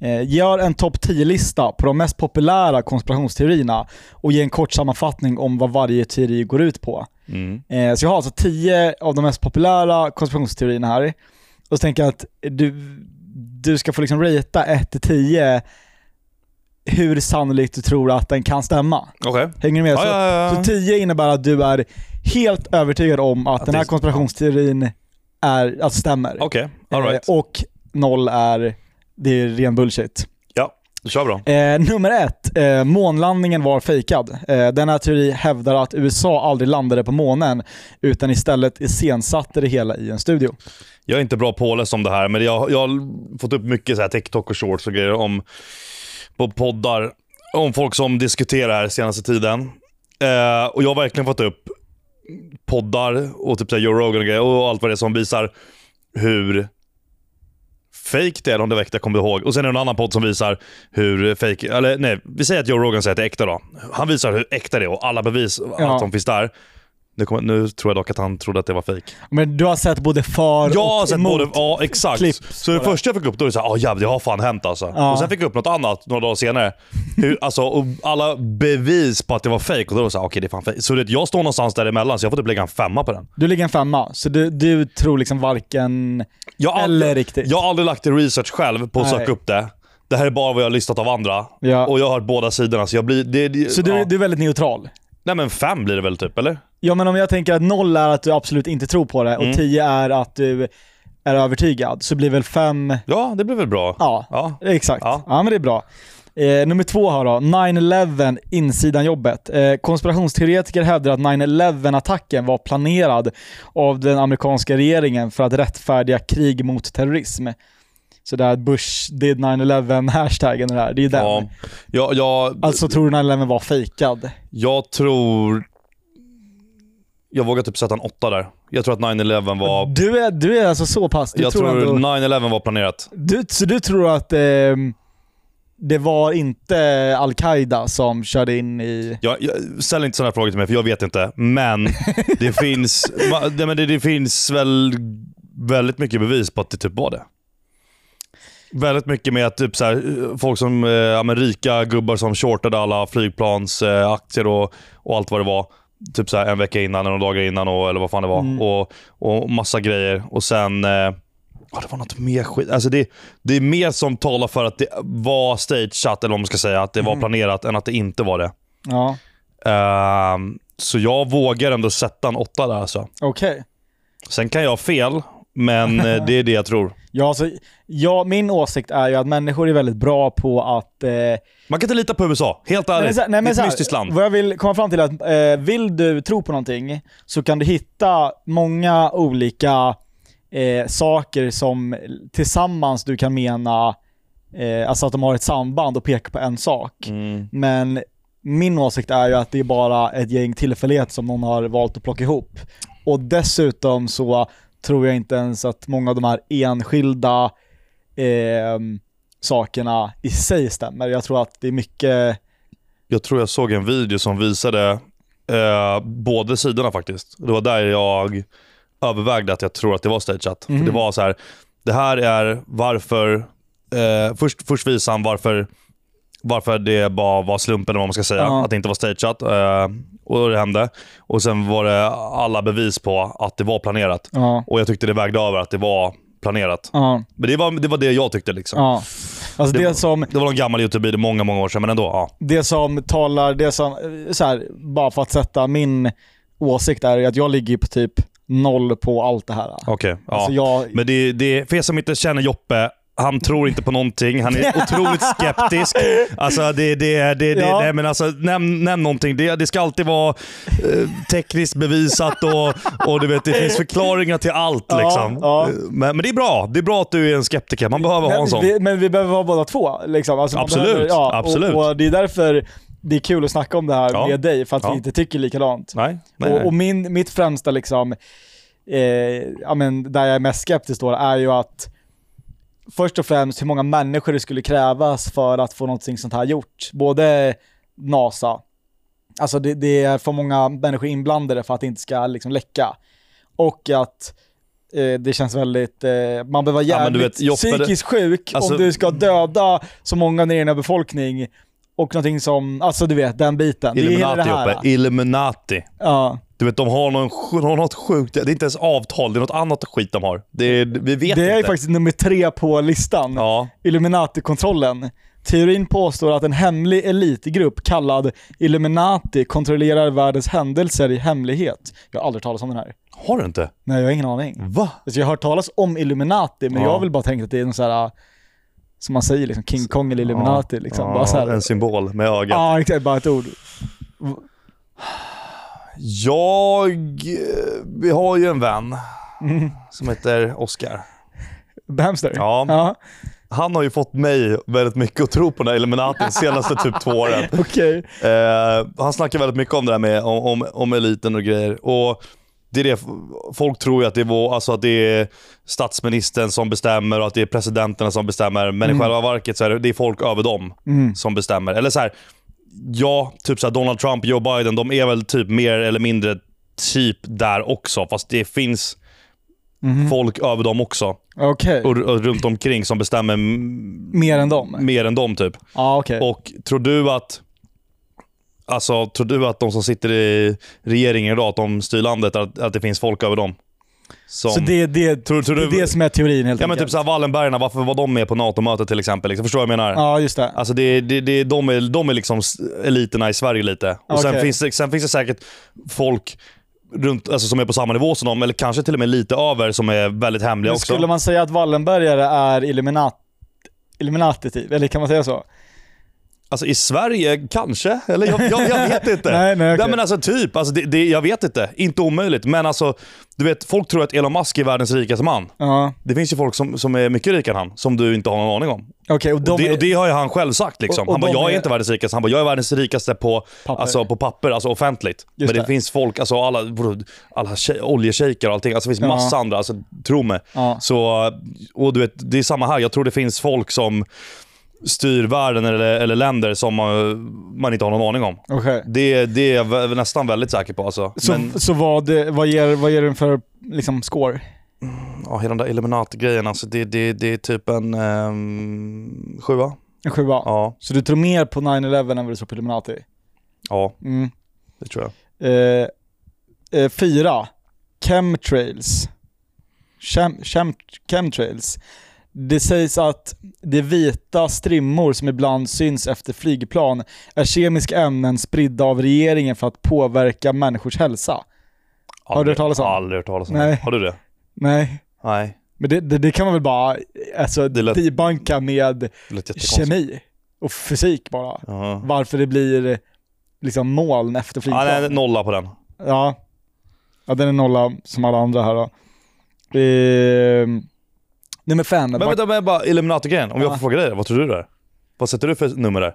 S1: eh, gör en topp 10-lista på de mest populära konspirationsteorierna och ge en kort sammanfattning om vad varje teori går ut på.
S2: Mm.
S1: Eh, så jag har alltså 10 av de mest populära konspirationsteorierna här. Och så tänker jag att du, du ska få liksom ratea 1-10 hur sannolikt du tror att den kan stämma.
S2: Okej.
S1: Hänger du med?
S2: Ja,
S1: Så-
S2: ja,
S1: Alltså, så
S2: ja.
S1: 10 innebär att du är helt övertygad om att,
S2: Att
S1: den här
S2: det är-
S1: konspirationsteorin är, alltså stämmer.
S2: Okej, alright.
S1: Eh, Och noll är, det är ren bullshit.
S2: Ja. Kör bra.
S1: Eh, nummer ett, eh, månlandningen var fejkad. Eh, denna teori hävdar att USA aldrig landade på månen, utan istället iscensatte det hela i en studio.
S2: Jag är inte bra påläst om det här, men jag, jag har fått upp mycket så här TikTok och shorts och grejer om, på poddar om folk som diskuterar det här senaste tiden. Eh, och Jag har verkligen fått upp poddar och typ så här Joe Rogan och, grejer och allt vad det är som visar hur fake det är, om det var äkta, kommer jag ihåg. Och sen är det en annan podd som visar hur fake, eller nej, vi säger att Joe Rogan säger att det är äkta då. Han visar hur äkta det är och alla bevis,
S1: Ja.
S2: allt som finns där. Nu, kommer, nu tror jag dock att han trodde att det var fake.
S1: Men du har sett både för
S2: Ja,
S1: och
S2: sen
S1: emot.
S2: både, ja exakt.
S1: klipp.
S2: Så det första jag fick upp, då var det såhär, oh, jävlar det har fan hänt alltså.
S1: Ja.
S2: Och sen fick jag upp något annat några dagar senare. Hur, alltså, och alla bevis på att det var fake och då var det såhär, okej det är fan fake. Så det, jag står någonstans däremellan så jag får typ lägga en femma på den.
S1: Du ligger en femma, så du, du tror liksom varken
S2: Jag har
S1: eller
S2: aldrig,
S1: riktigt.
S2: jag har aldrig lagt in research själv på att
S1: Nej.
S2: söka upp det. Det här är bara vad jag har listat av andra.
S1: Ja.
S2: Och jag har hört båda sidorna så jag blir... Det, det,
S1: Så du,
S2: ja.
S1: du är väldigt neutral.
S2: Nej men fem blir det väl typ, eller?
S1: Ja, men om jag tänker att noll är att du absolut inte tror på det
S2: Mm.
S1: och tio är att du är övertygad, så blir väl fem...
S2: Ja, det blir väl bra.
S1: Ja,
S2: Ja.
S1: exakt. Ja.
S2: Ja.
S1: men det är bra. Eh, nummer två här då, 9-11, insidan jobbet. Eh, konspirationsteoretiker hävdar att 9-11-attacken var planerad av den amerikanska regeringen för att rättfärdiga krig mot terrorism. Så där Bush did 9-11-hashtaggen och det här, det är ju den.
S2: Ja. Jag, jag,
S1: Alltså tror du 9-11 var fejkad?
S2: Jag tror... Jag vågar typ sätta en åtta där. Jag tror att 9-11 var...
S1: Du är, du är alltså så pass... Du
S2: Jag
S1: tror
S2: tror
S1: ändå-
S2: 9-11 var planerat.
S1: Du, så du tror att ehm, det var inte Al-Qaida som körde in i...
S2: Jag, jag, ställ inte sådana frågor till mig, för jag vet inte. Men det finns, ma- det, men det, det finns väl väldigt mycket bevis på att det typ var det. Väldigt mycket med att typ så här, folk som, eh, ja, men rika gubbar som shortade alla flygplansaktier eh, aktier och, och allt vad det var. Typ så här en vecka innan, eller några dagar innan och, eller vad fan det var. Och, och massa grejer. Och sen... Eh, ja, det var något mer skit. Alltså det, det är mer som talar för att det var stageat, eller vad man ska säga. Att det var planerat, än att det inte var det.
S1: Ja,
S2: Ehm, så jag vågar ändå sätta en åtta där alltså.
S1: okej.
S2: Sen kan jag ha fel, men eh, det är det jag tror.
S1: Ja, alltså, ja, min åsikt är ju att människor är väldigt bra på att... Eh, nej,
S2: Man kan inte lita på USA, helt
S1: men
S2: ärligt.
S1: så här- nej, men
S2: det är ett
S1: så här,
S2: mystiskt land.
S1: Vad jag vill komma fram till är att eh, vill du tro på någonting så kan du hitta många olika eh, saker som tillsammans du kan mena, eh, alltså att de har ett samband och pekar på en sak.
S2: Mm.
S1: Men min åsikt är ju att det är bara ett gäng tillfällighet som någon har valt att plocka ihop. Och dessutom så tror jag inte ens att många av de här enskilda ehm, sakerna i sig stämmer. Jag tror att det är mycket...
S2: Jag tror jag såg en video som visade eh, båda sidorna faktiskt. Det var där jag övervägde att jag tror att det var stageat. För
S1: Mm.
S2: det var så här, det här är varför... Eh, först, först visade han varför, varför det bara var slumpen, eller vad man ska säga.
S1: Ja.
S2: Att det inte var stageat. Eh, och det hände. Och sen var det alla bevis på att det var planerat.
S1: Ja.
S2: Och jag tyckte det vägde över att det var planerat.
S1: Ja.
S2: Men det var det, var det jag tyckte. liksom.
S1: ja. Alltså det,
S2: Det var-
S1: som,
S2: Det var någon gammal YouTube-video många, många år sedan, men ändå. Ja.
S1: det som talar, det som, eh, så här, bara för att sätta min åsikt är ju att jag ligger ju på typ noll på allt det här.
S2: Okej. ja.
S1: Alltså jag,
S2: Men det, det, för er som inte känner Joppe, han tror inte på någonting.
S1: [laughs]
S2: Han är otroligt skeptisk. Alltså, det, det, det, det,
S1: Ja.
S2: nej, men alltså, nämn, nämn någonting. Det, det ska alltid vara eh, tekniskt bevisat och, och du vet, det finns förklaringar till allt.
S1: Ja,
S2: liksom.
S1: ja.
S2: Men, men det är bra. Det är bra att du är en skeptiker. Man behöver ha en sån.
S1: Men vi, men vi behöver ha båda två. Liksom. Alltså, man
S2: Absolut,
S1: behöver-
S2: absolut.
S1: Och, och det är därför det är kul att snacka om det här
S2: Ja.
S1: med dig, för att vi
S2: Ja.
S1: inte tycker likadant.
S2: Nej, nej,
S1: Och, och
S2: nej.
S1: min, mitt främsta, liksom, eh, ja, men där jag är mest skeptisk då, är ju att först och främst hur många människor det skulle krävas för att få någonting sånt här gjort. Både NASA, alltså det, det är för många människor inblandade för att det inte ska liksom, läcka. Och att eh, det känns väldigt, eh, man behöver vara
S2: Ja, men
S1: jävligt
S2: du vet, Joppe, det-
S1: psykiskt sjuk
S2: Alltså-
S1: om du ska döda så många av din egna befolkning. Och någonting som, alltså du vet den biten. Det är hela det
S2: Illuminati,
S1: här.
S2: Joppe. Illuminati.
S1: Ja.
S2: Du vet, de har, någon, de har något sjukt. Det är inte ens avtal. Det är något annat skit de har. Det är, vi vet
S1: Det
S2: inte.
S1: är ju faktiskt nummer tre på listan.
S2: Ja.
S1: Illuminati-kontrollen. Teorin påstår att en hemlig elitgrupp kallad Illuminati kontrollerar världens händelser i hemlighet. Jag har aldrig talat om den här.
S2: Har du inte?
S1: Nej, jag har ingen aning.
S2: Va?
S1: Alltså, jag har hört talas om Illuminati, men
S2: Mm. Ja.
S1: jag har väl bara tänkt att det är någon så här Som man säger, liksom, King Kong eller Illuminati. liksom.
S2: Ja,
S1: bara så här.
S2: En symbol med ögat.
S1: Ja, exakt. Bara ett ord.
S2: Jag... eh, Vi har ju en vän
S1: Mm.
S2: som heter Oscar.
S1: Bamster.
S2: Ja.
S1: ja.
S2: Han har ju fått mig väldigt mycket att tro på den här Illuminati
S1: [laughs]
S2: de senaste typ två åren.
S1: Okej.
S2: Eh, han snackar väldigt mycket om det där med om, om, om eliten och grejer. Och det är det, folk tror ju att det, är vår, alltså att det är statsministern som bestämmer och att det är presidenterna som bestämmer. Men
S1: Mm.
S2: i själva verket så är det, det är folk över dem som bestämmer. Eller så här, ja, typ så här Donald Trump, Joe Biden, de är väl typ mer eller mindre typ där också. Fast det finns
S1: Mm-hmm.
S2: folk över dem också
S1: Okej.
S2: och, och runt omkring som bestämmer m-
S1: Mer än dem?
S2: mer än dem typ.
S1: Ja, okej.
S2: Och tror du att Alltså, tror du att de som sitter i regeringen idag, att de styr landet, att, att det finns folk över dem? Som,
S1: Så det, det,
S2: tror, tror
S1: det är
S2: du,
S1: det som är teorin helt
S2: ja, men typ
S1: enkelt?
S2: såhär, Wallenbergarna, varför var de med på NATO-mötet till exempel? Liksom, förstår du vad jag menar?
S1: Ja, just det.
S2: Alltså det, det, det, de, är, de är liksom s- eliterna i Sverige lite. Och sen,
S1: Okej.
S2: finns det, sen finns det säkert folk runt, alltså, som är på samma nivå som dem, eller kanske till och med lite över, som är väldigt hemliga
S1: Men
S2: också.
S1: skulle man säga att Wallenbergare är Illuminati, Illuminati typ? Eller kan man säga så?
S2: Alltså i Sverige kanske? Eller jag, jag,
S1: [laughs]
S2: jag vet inte.
S1: Nej, nej, okej.
S2: men alltså typ. Alltså, det, det, jag vet inte. Inte omöjligt. Men alltså, du vet, folk tror att Elon Musk är världens rikaste man.
S1: Ja.
S2: Det finns ju folk som, som är mycket rikare än han, som du inte har någon aning om.
S1: Okej, och de
S2: Och det,
S1: är...
S2: och det har ju han själv sagt. Liksom.
S1: Och- och
S2: han bara,
S1: de
S2: jag är
S1: är-
S2: inte världens rikaste. Han bara, jag är världens rikaste på papper,
S1: Papper.
S2: alltså, på papper, alltså offentligt. men det,
S1: det.
S2: finns folk, alltså alla, vadå, alla tjej, oljeshejker och allting. Alltså, det finns
S1: Ja.
S2: massa andra, alltså, tro mig.
S1: Ja.
S2: Så, och du vet, det är samma här. Jag tror det finns folk som styr världen eller, eller länder som man, man inte har någon aning om.
S1: Okej.
S2: Det, det är jag vä- nästan väldigt säker på. Alltså.
S1: Så,
S2: Men
S1: så vad, vad, ger, vad ger den för liksom, score?
S2: ja, hela den där Illuminati-grejen, alltså, det, det, det är typ en ehm, sjua.
S1: En sjua?
S2: Ja,
S1: Så du tror mer på 9-11 än vad du tror på Illuminati?
S2: ja,
S1: Mm.
S2: det tror jag.
S1: Eh, eh, fyra. Chemtrails. Chem, chem, chemtrails. Det sägs att de vita strimmor som ibland syns efter flygplan är kemiska ämnen spridda av regeringen för att påverka människors hälsa. du
S2: Aldrig-
S1: hört talas om?
S2: Aldrig hört talas om.
S1: Nej.
S2: Har du det?
S1: Nej,
S2: Nej.
S1: men det, det, det kan man väl bara alltså,
S2: Det lät-
S1: debunka med
S2: Det lät jättekonstigt.
S1: kemi och fysik bara.
S2: Ja.
S1: Varför det blir liksom moln efter
S2: Ja,
S1: flygplan.
S2: nej, nolla på den.
S1: Ja. ja, den är nolla som alla andra här då. Ehm, nummer fem.
S2: Men
S1: Var-
S2: vänta, men bara Illuminati-grejen. Om jag
S1: Ja.
S2: får fråga dig, vad tror du där? Vad sätter du för nummer där?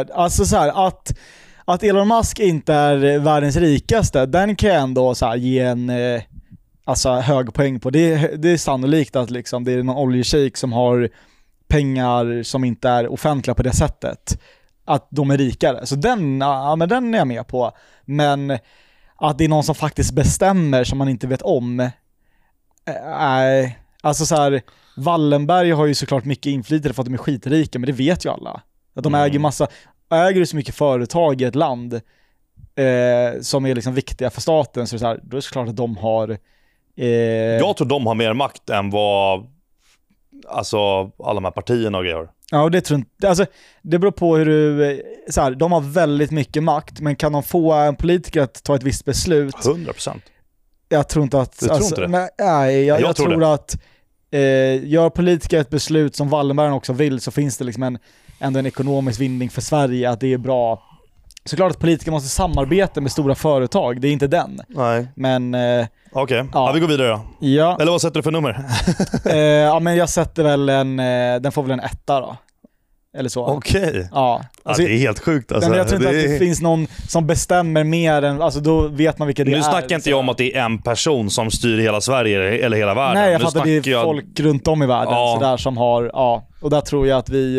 S1: Eh, alltså så här, att, att Elon Musk inte är världens rikaste, den kan jag ändå så här, ge en eh, alltså, hög poäng på. Det, är- det är sannolikt att liksom, det är någon oljeshejk som har pengar som inte är offentliga på det sättet. Att de är rikare. Så den, ja, men den är jag med på. Men att det är någon som faktiskt bestämmer som man inte vet om. eh, Nej. alltså så här, Wallenberg har ju såklart mycket inflytande för att de är skitrika, men det vet ju alla. Att de
S2: Mm.
S1: äger massa, äger du så mycket företag i ett land eh, som är liksom viktiga för staten, så, är det så här, då är det såklart att de har... Eh, ja.
S2: Jag tror de har mer makt än vad alltså, alla de här partierna och grejer har.
S1: och det tror inte, alltså, det beror på hur du... eh, Så här, de har väldigt mycket makt, men kan de få en politiker att ta ett visst beslut
S2: 100 procent.
S1: Jag tror inte att...
S2: Du tror inte det?
S1: Nej, nej jag,
S2: Jag
S1: jag,
S2: tror
S1: tror, att eh, gör politiker ett beslut som Wallenberg också vill så finns det liksom en, ändå en ekonomisk vinning för Sverige, att det är bra. Såklart att politiker måste samarbeta med stora företag, det är inte den.
S2: Nej.
S1: Men eh,
S2: Okej, ja.
S1: Ja.
S2: vi går vidare då. [laughs]
S1: ja,
S2: Eller vad sätter du för nummer?
S1: eh, ja, men jag sätter väl en, eh, den får väl en etta då. Eller så.
S2: Okej.
S1: Ja. Alltså,
S2: ja, det är helt sjukt alltså.
S1: men jag tror inte
S2: Det
S1: att det
S2: är-
S1: finns någon som bestämmer mer än, alltså då vet man vilka det är. liksom.
S2: nu snackar inte jag om att det är en person som styr hela Sverige eller hela världen.
S1: Nej, jag
S2: nu
S1: fattar. Det
S2: snackar
S1: är
S2: jag-
S1: folk runt om i världen
S2: Ja.
S1: sådär, som har, ja. Och där tror jag att vi,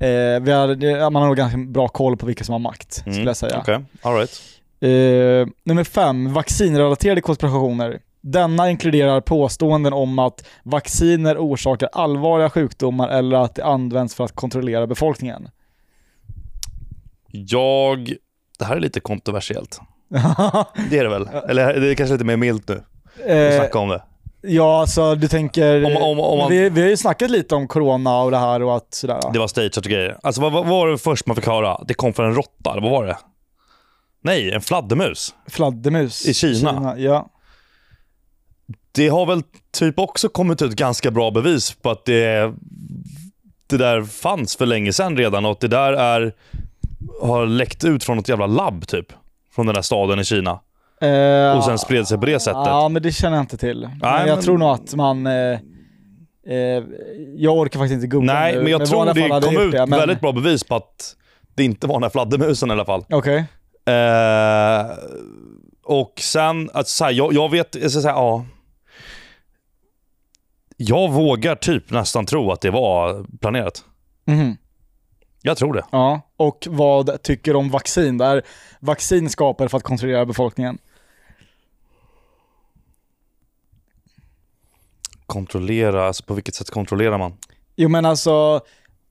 S1: eh, vi har, ja, man har nog ganska bra koll på vilka som har makt,
S2: Mm,
S1: skulle jag säga.
S2: Okej, all right.
S1: Eh, nummer fem, vaccinrelaterade konspirationer. Denna inkluderar påståenden om att vacciner orsakar allvarliga sjukdomar eller att det används för att kontrollera befolkningen. [laughs]
S2: Jag... Det här är lite kontroversiellt. Det är det väl? Eller det är kanske lite mer milt nu. att
S1: eh,
S2: snacka om det.
S1: ja, alltså du tänker...
S2: Om- om- om man-
S1: vi, vi har ju snackat lite om corona och det här och att sådär.
S2: Det var stageat och grejer. Alltså vad, vad vad var det först man fick höra? Det kom från en råtta, eller vad var det? Nej, en fladdermus.
S1: Fladdermus.
S2: I Kina.
S1: ja.
S2: Det har väl typ också kommit ut ganska bra bevis på att det det där fanns för länge sedan redan och att det där är, har läckt ut från något jävla labb typ. Från den där staden i Kina.
S1: Eh,
S2: Och sen spred sig på det sättet.
S1: Ja, men det känner jag inte till. men
S2: Nej,
S1: jag
S2: men-
S1: tror nog att man... Eh, eh, jag orkar faktiskt inte googla
S2: Nej,
S1: nu,
S2: men jag
S1: i
S2: tror
S1: vanliga fall
S2: det
S1: hade jag
S2: kom
S1: gjort
S2: ut
S1: det, men-
S2: väldigt bra bevis på att det inte var den här fladdermusen i alla fall.
S1: Okej.
S2: Eh, och sen, alltså, så här, jag, jag vet, alltså, så här, ja. Jag vågar typ nästan tro att det var planerat.
S1: Mhm.
S2: Jag tror det.
S1: Ja, och vad tycker du om vaccin? Där vaccin skapar för att kontrollera befolkningen.
S2: Kontrollera, alltså på vilket sätt kontrollerar man?
S1: Jo men alltså,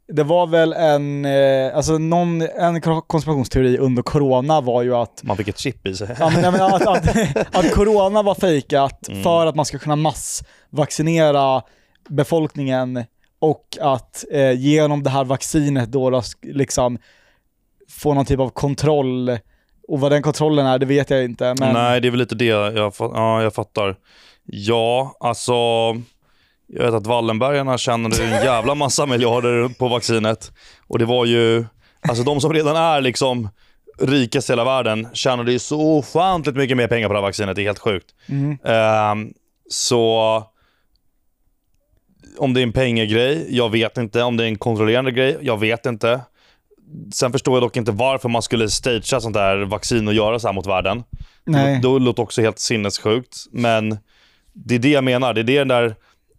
S1: det var väl en, eh, alltså någon, en konspirationsteori under corona var ju att
S2: Man fick ett chip i sig. [laughs]
S1: Ja, men, nej, men att, att, att corona var fejkat
S2: Mm.
S1: för att man ska kunna massvaccinera befolkningen och att eh, genom det här vaccinet då, då sk- liksom få någon typ av kontroll. Och vad den kontrollen är, det vet jag inte. Men
S2: Nej, det är väl lite det jag, fa- ja, jag fattar. Ja, alltså. Jag vet att Wallenbergarna tjänade en jävla massa [laughs] miljarder på vaccinet. Och det var ju, alltså de som redan är liksom rikast i hela världen tjänade ju så ofantligt mycket mer pengar på det här vaccinet. Det är helt sjukt.
S1: Mm.
S2: Ehm, så om det är en pengagrej, jag vet inte. Om det är en kontrollerande grej, jag vet inte. Sen förstår jag dock inte varför man skulle stagea sånt där vaccin och göra så här mot världen.
S1: nej.
S2: Det låter också helt sinnessjukt. Men det är det jag menar. Det är det den där,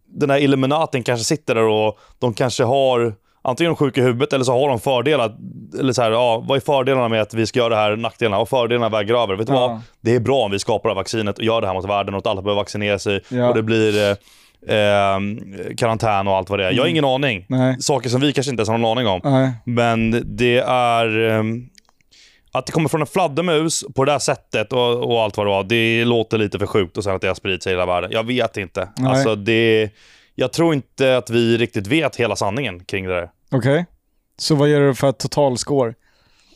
S2: den där Illuminaten kanske sitter där och de kanske har Antingen är de sjuka i huvudet eller så har de fördelar. Eller så här, ja, vad är fördelarna med att vi ska göra det här? Nackdelarna? Och fördelarna väger över. Vet du
S1: Ja.
S2: vad? Det är bra om vi skapar det här vaccinet och gör det här mot världen och att alla behöver vaccinera sig.
S1: Ja.
S2: Och det blir eh, eh, karantän och allt vad det är. Jag har ingen aning.
S1: Mm. Nej.
S2: Saker som vi kanske inte ens har någon aning om.
S1: Nej.
S2: Men det är... ehm, Att det kommer från en fladdermus på det här sättet och, och allt vad det var, det låter lite för sjukt. Och sen att det har spridit sig i hela världen. Jag vet inte.
S1: Nej.
S2: Alltså det... Jag tror inte att vi riktigt vet hela sanningen kring det där.
S1: Okej. Så vad gör du för totalscore?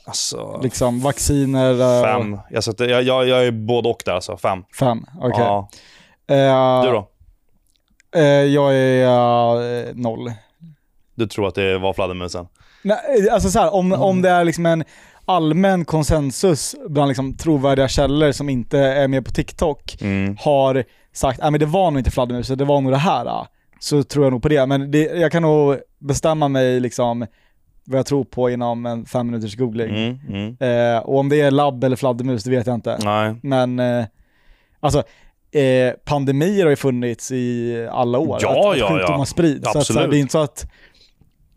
S2: Alltså...
S1: Liksom vacciner? eh,
S2: Fem. Jag, sätter, jag, jag, jag är både och där alltså. Fem.
S1: Fem, okej.
S2: Ja.
S1: Eh,
S2: Du då?
S1: eh, jag är eh, noll.
S2: Du tror att det var fladdermusen?
S1: Nej, alltså så här, om,
S2: Mm.
S1: om det är liksom en allmän konsensus bland liksom trovärdiga källor som inte är med på TikTok
S2: Mm.
S1: har sagt att det var nog inte fladdermusen, det var nog det här. ah." Så tror jag nog på det. Men det, jag kan nog bestämma mig liksom vad jag tror på inom en fem minuters googling.
S2: Mm. Mm.
S1: Eh, och om det är labb eller fladdermus, det vet jag inte.
S2: Nej.
S1: Men eh, alltså, eh, pandemier har ju funnits i alla år.
S2: Ja,
S1: att, att
S2: ja, ja.
S1: sjukdomar sprids. Så, att, så här,
S2: Absolut.
S1: det är inte så att,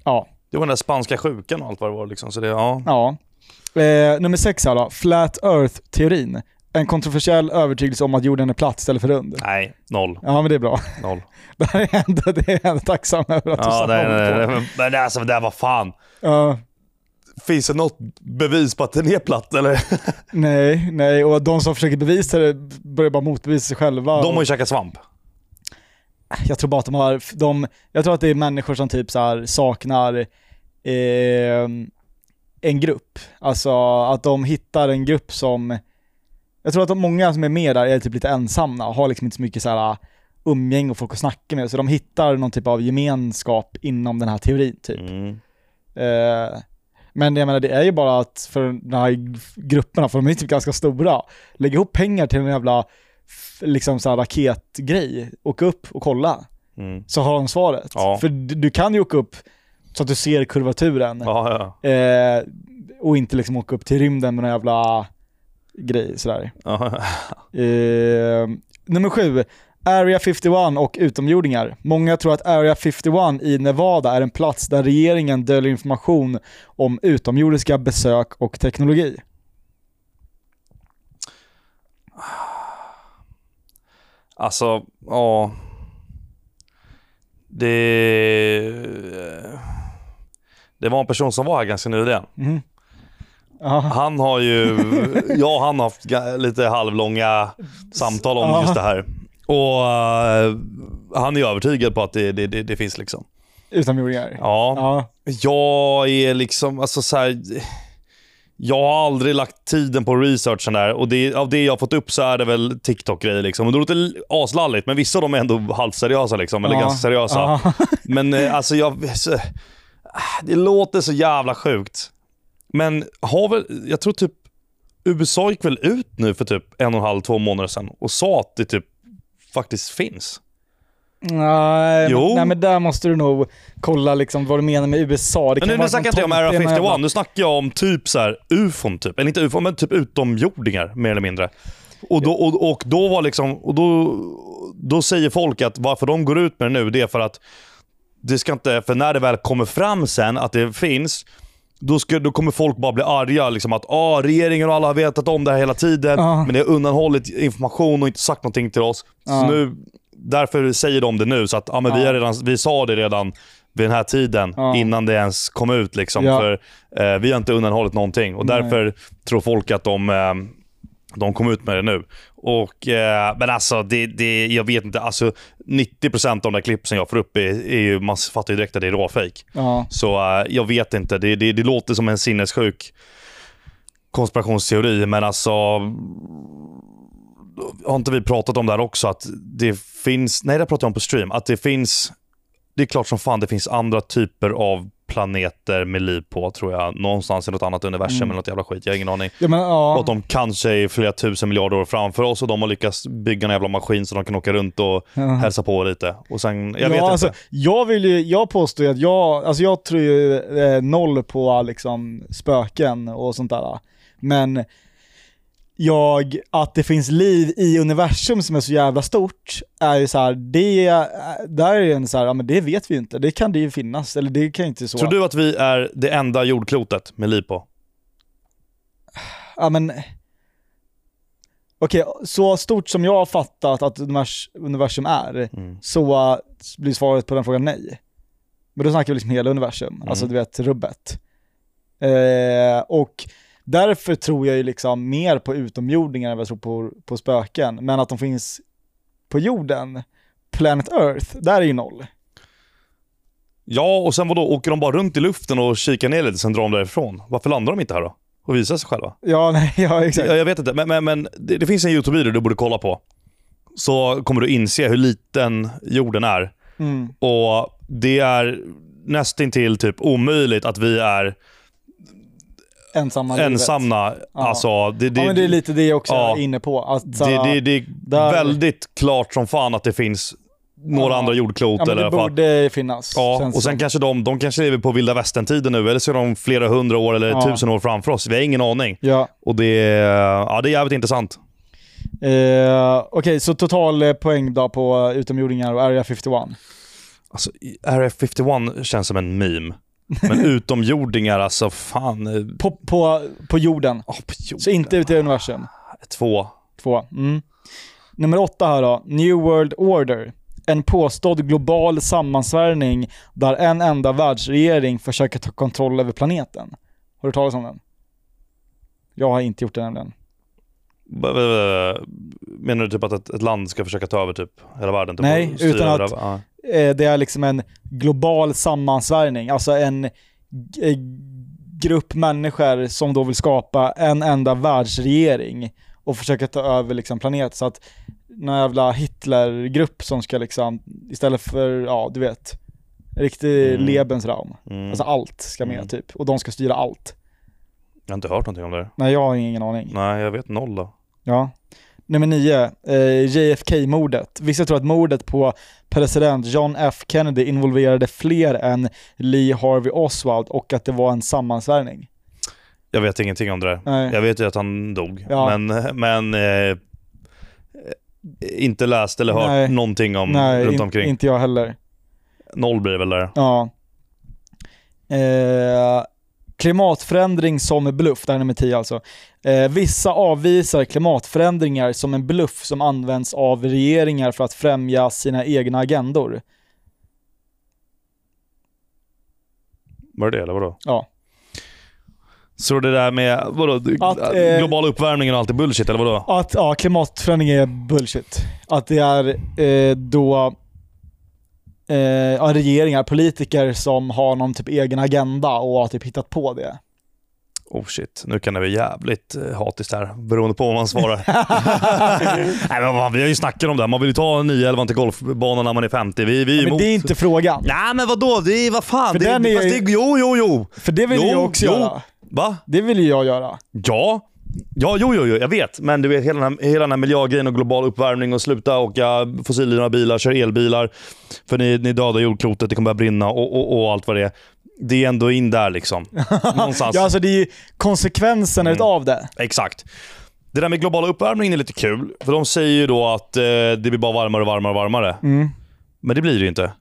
S1: ja.
S2: Det var den där spanska sjukan och allt vad det var. Liksom. Så det, ja.
S1: Ja. Eh, nummer sex här då. Flat Earth-teorin. En kontroversiell övertygelse om att jorden är platt istället för rund.
S2: Nej, noll.
S1: Ja men det är bra. [laughs]
S2: noll.
S1: Det här är ändå, det är jag ändå tacksam över att du
S2: Ja,
S1: sa
S2: nej, nej,
S1: nej,
S2: nej, men- men alltså, det där var fan. Finns det något bevis på att den är platt [laughs] eller?
S1: nej, nej. Och de som försöker bevisa det börjar bara motbevisa sig själva.
S2: De har ju käkat svamp.
S1: Jag tror bara att de har, de, jag tror att det är människor som typ så här saknar eh, en grupp. Alltså att de hittar en grupp som, jag tror att de, många som är med där är typ lite ensamma och har liksom inte så mycket så här umgänge och folk att snacka med. Så de hittar någon typ av gemenskap inom den här teorin typ.
S2: Mm.
S1: Eh, men jag menar det är ju bara att för de här grupperna, för de är ju typ ganska stora, lägga ihop pengar till en jävla f- liksom så här raketgrej, åka upp och kolla
S2: Mm.
S1: så har de svaret.
S2: Ja.
S1: För du, du kan ju åka upp så att du ser kurvaturen
S2: Ja, ja.
S1: eh, och inte liksom åka upp till rymden med någon jävla grej sådär.
S2: ja.
S1: Eh, nummer sju, Area 51 och utomjordingar. Många tror att Area 51 i Nevada är en plats där regeringen döljer information om utomjordiska besök och teknologi.
S2: Alltså, ja. Det... Det var en person som var här ganska nyligen.
S1: Mhm. Ja.
S2: Han har [laughs] ju... Jag och han har haft ga- lite halvlånga samtal om
S1: Ja.
S2: just det här. Och eh, han är ju övertygad på att det, det, det, det finns liksom.
S1: Utomjordingar.
S2: Ja.
S1: Ja.
S2: Jag är liksom, alltså så här, Jag har aldrig lagt tiden på researchen där och det, av det jag har fått upp så är det väl TikTok-grejer. Liksom. Och det låter aslalligt, men vissa av dem är ändå halvseriösa. Liksom, eller [laughs]
S1: Ja.
S2: ganska seriösa.
S1: Ja.
S2: Men eh, alltså jag... Så, Det låter så jävla sjukt. Men har väl, jag tror typ USA gick väl ut nu för typ en och en halv, två månader sedan och sa att det typ faktiskt finns.
S1: Nej,
S2: Jo.
S1: men, nej, men där måste du nog kolla liksom vad du menar med USA. Det
S2: Men nu,
S1: vara
S2: nu snackar inte jag om
S1: någon
S2: Area
S1: topp i
S2: 51,
S1: ena jävla-
S2: nu snackar jag om typ så här ufon typ. Eller inte ufon, men typ utomjordingar mer eller mindre. Och då, och, och då var liksom, och då, då säger folk att varför de går ut med det nu, det är för att det ska inte, för när det väl kommer fram sen att det finns, då, ska, då kommer folk bara bli arga. Liksom att ah, regeringen och alla har vetat om det här hela tiden,
S1: Ja.
S2: men det har undanhållit information och inte sagt någonting till oss. Så
S1: Ja.
S2: nu, därför säger de det nu. Så att ah, men vi,
S1: Ja.
S2: har redan, vi sa det redan vid den här tiden,
S1: Ja.
S2: innan det ens kom ut. Liksom,
S1: Ja.
S2: för eh, Vi har inte undanhållit någonting och därför tror folk att de, eh, de kom ut med det nu. Och, eh, men alltså, det, det, jag vet inte. Alltså, 90% av de där klippen jag får upp, är, är ju, man fattar ju direkt att det är råfejk.
S1: Ja.
S2: Så eh, jag vet inte. Det, det, det låter som en sinnessjuk konspirationsteori, men alltså... Har inte vi pratat om det här också? Att det finns... Nej, det pratade jag om på stream. Att det finns... Det är klart som fan det finns andra typer av planeter med liv på, tror jag. Någonstans i något annat universum eller något jävla skit. Jag har ingen aning.
S1: Ja, men,
S2: Och
S1: Mm. ja.
S2: att de kanske är flera tusen miljarder år framför oss och de har lyckats bygga en jävla maskin så de kan åka runt och hälsa på lite. Och sen, jag vet
S1: Mm. ja,
S2: inte.
S1: alltså, jag, vill ju, jag påstår ju att jag, alltså jag tror ju eh, noll på liksom, spöken och sånt där. Men jag, att det finns liv i universum som är så jävla stort, är ju så här, det, eh, där är ju en så här, ja, men det vet vi ju inte. Det kan det ju finnas, eller det kan ju inte så.
S2: Tror du att vi är det enda jordklotet med liv på?
S1: Ja men... Okej, så stort som jag har fattat att univers- universum är,
S2: Mm.
S1: så äh, blir svaret på den frågan nej. Men då snackar vi liksom hela universum, alltså
S2: Mm.
S1: du vet rubbet. Eh, och därför tror jag ju liksom mer på utomjordingar än vad jag tror på, på spöken. Men att de finns på jorden, Planet Earth, där är ju noll.
S2: Ja, och sen vadå? Åker de bara runt i luften och kikar ner lite, sen drar de därifrån? Varför landar de inte här då? Och visar sig själva?
S1: Ja, nej, [laughs] ja exakt.
S2: Jag, jag vet inte, men, men, men det, det finns en YouTube-video du borde kolla på. Så kommer du inse hur liten jorden är.
S1: Mm.
S2: Och det är nästintill typ omöjligt att vi är
S1: Ensamma livet.
S2: ensamma.
S1: Ja.
S2: Alltså, det, det,
S1: Ja men det är lite det jag också
S2: Ja.
S1: är inne på. Att, så här-
S2: det, det, det är
S1: Där-
S2: väldigt klart som fan att det finns några
S1: Ja.
S2: andra jordklot.
S1: Ja, men
S2: eller i
S1: det
S2: alla fall.
S1: borde finnas.
S2: Ja,
S1: känns
S2: och sen
S1: som.
S2: kanske de, de kanske lever på vilda västern-tiden nu, eller så är de flera hundra år eller
S1: Ja.
S2: tusen år framför oss. Vi har ingen aning.
S1: Ja.
S2: Och det är, ja, det är jävligt intressant.
S1: Eh, Okej, så total eh, poäng då på eh, utomjordingar och Area 51.
S2: Alltså, RF 51 känns som en meme.
S1: [laughs]
S2: Men utomjordingar, alltså fan. eh,
S1: På, på, på jorden.
S2: ja, på jorden.
S1: Så inte ute i universum.
S2: Två.
S1: Två. Mm. Nummer åtta här då. New World Order. En påstådd global sammansvärjning där en enda världsregering försöker ta kontroll över planeten. Har du hört talas om den? Jag har inte gjort det nämligen.
S2: B- b- b- Menar du typ att ett, ett land ska försöka ta över typ hela världen? Typ,
S1: Nej,
S2: och styra
S1: utan att-
S2: över- ja.
S1: eh, det är liksom en global sammansvärjning, alltså en g- eh, grupp människor som då vill skapa en enda världsregering och försöka ta över liksom planet så att någon jävla Hitlergrupp som ska liksom, istället för, ja du vet, riktig
S2: Mm.
S1: Lebensraum.
S2: Mm.
S1: Alltså allt ska med
S2: Mm.
S1: typ, och de ska styra allt.
S2: Jag har inte hört någonting om det.
S1: Nej jag har ingen aning.
S2: Nej, jag vet noll då.
S1: Ja. Nummer nio, eh, JFK-mordet. Vissa tror att mordet på president John F Kennedy involverade fler än Lee Harvey Oswald och att det var en sammansvärjning.
S2: Jag vet ingenting om det där.
S1: Nej.
S2: Jag vet ju att han dog,
S1: Ja.
S2: men, men eh, eh, inte läst eller hört
S1: Nej.
S2: någonting om
S1: Nej,
S2: runt
S1: in,
S2: omkring.
S1: inte jag heller.
S2: Noll blir väl där.
S1: Ja. Eh, klimatförändring som en bluff, det här är nummer 10 alltså. Eh, vissa avvisar klimatförändringar som en bluff som används av regeringar för att främja sina egna agendor.
S2: Var det det eller vadå?
S1: Ja.
S2: Så det där med vadå,
S1: Att,
S2: eh,
S1: eh,
S2: global uppvärmning och allt är bullshit eller vadå?
S1: Att ja, klimatförändring är bullshit. Att det är eh, då eh, ja, regeringar, politiker som har någon typ egen agenda och har typ hittat på det.
S2: Oh shit, nu kan det bli jävligt eh, hatiskt här, beroende på vad
S1: [laughs]
S2: man svarar. Nej, men man, vi har ju snackat om det här. Man vill ju ta 9-11 till golfbanan när man är 50. Vi, vi är
S1: Men
S2: emot.
S1: det är inte frågan.
S2: Nej men vadå, det är, vad fan.
S1: För
S2: det,
S1: den är
S2: fast
S1: ju-
S2: det, jo, jo, jo.
S1: För det vill
S2: jo,
S1: jag också
S2: jo. Alltså.
S1: göra.
S2: Va?
S1: Det vill ju jag göra.
S2: Ja. Ja, jo, jo, jo, jag vet. Men du vet, hela den här, hela den här miljögrejen och global uppvärmning och sluta åka fossildrivna bilar, kör elbilar. För ni, ni dödar jordklotet, det kommer börja brinna och, och, och allt vad det är. Det är ändå in där liksom. Någonstans.
S1: Ja, alltså det är ju
S2: Mm.
S1: konsekvenserna utav det.
S2: Exakt. Det där med globala uppvärmningen är lite kul. För de säger ju då att eh, det blir bara varmare och varmare och varmare. Men det blir det ju inte.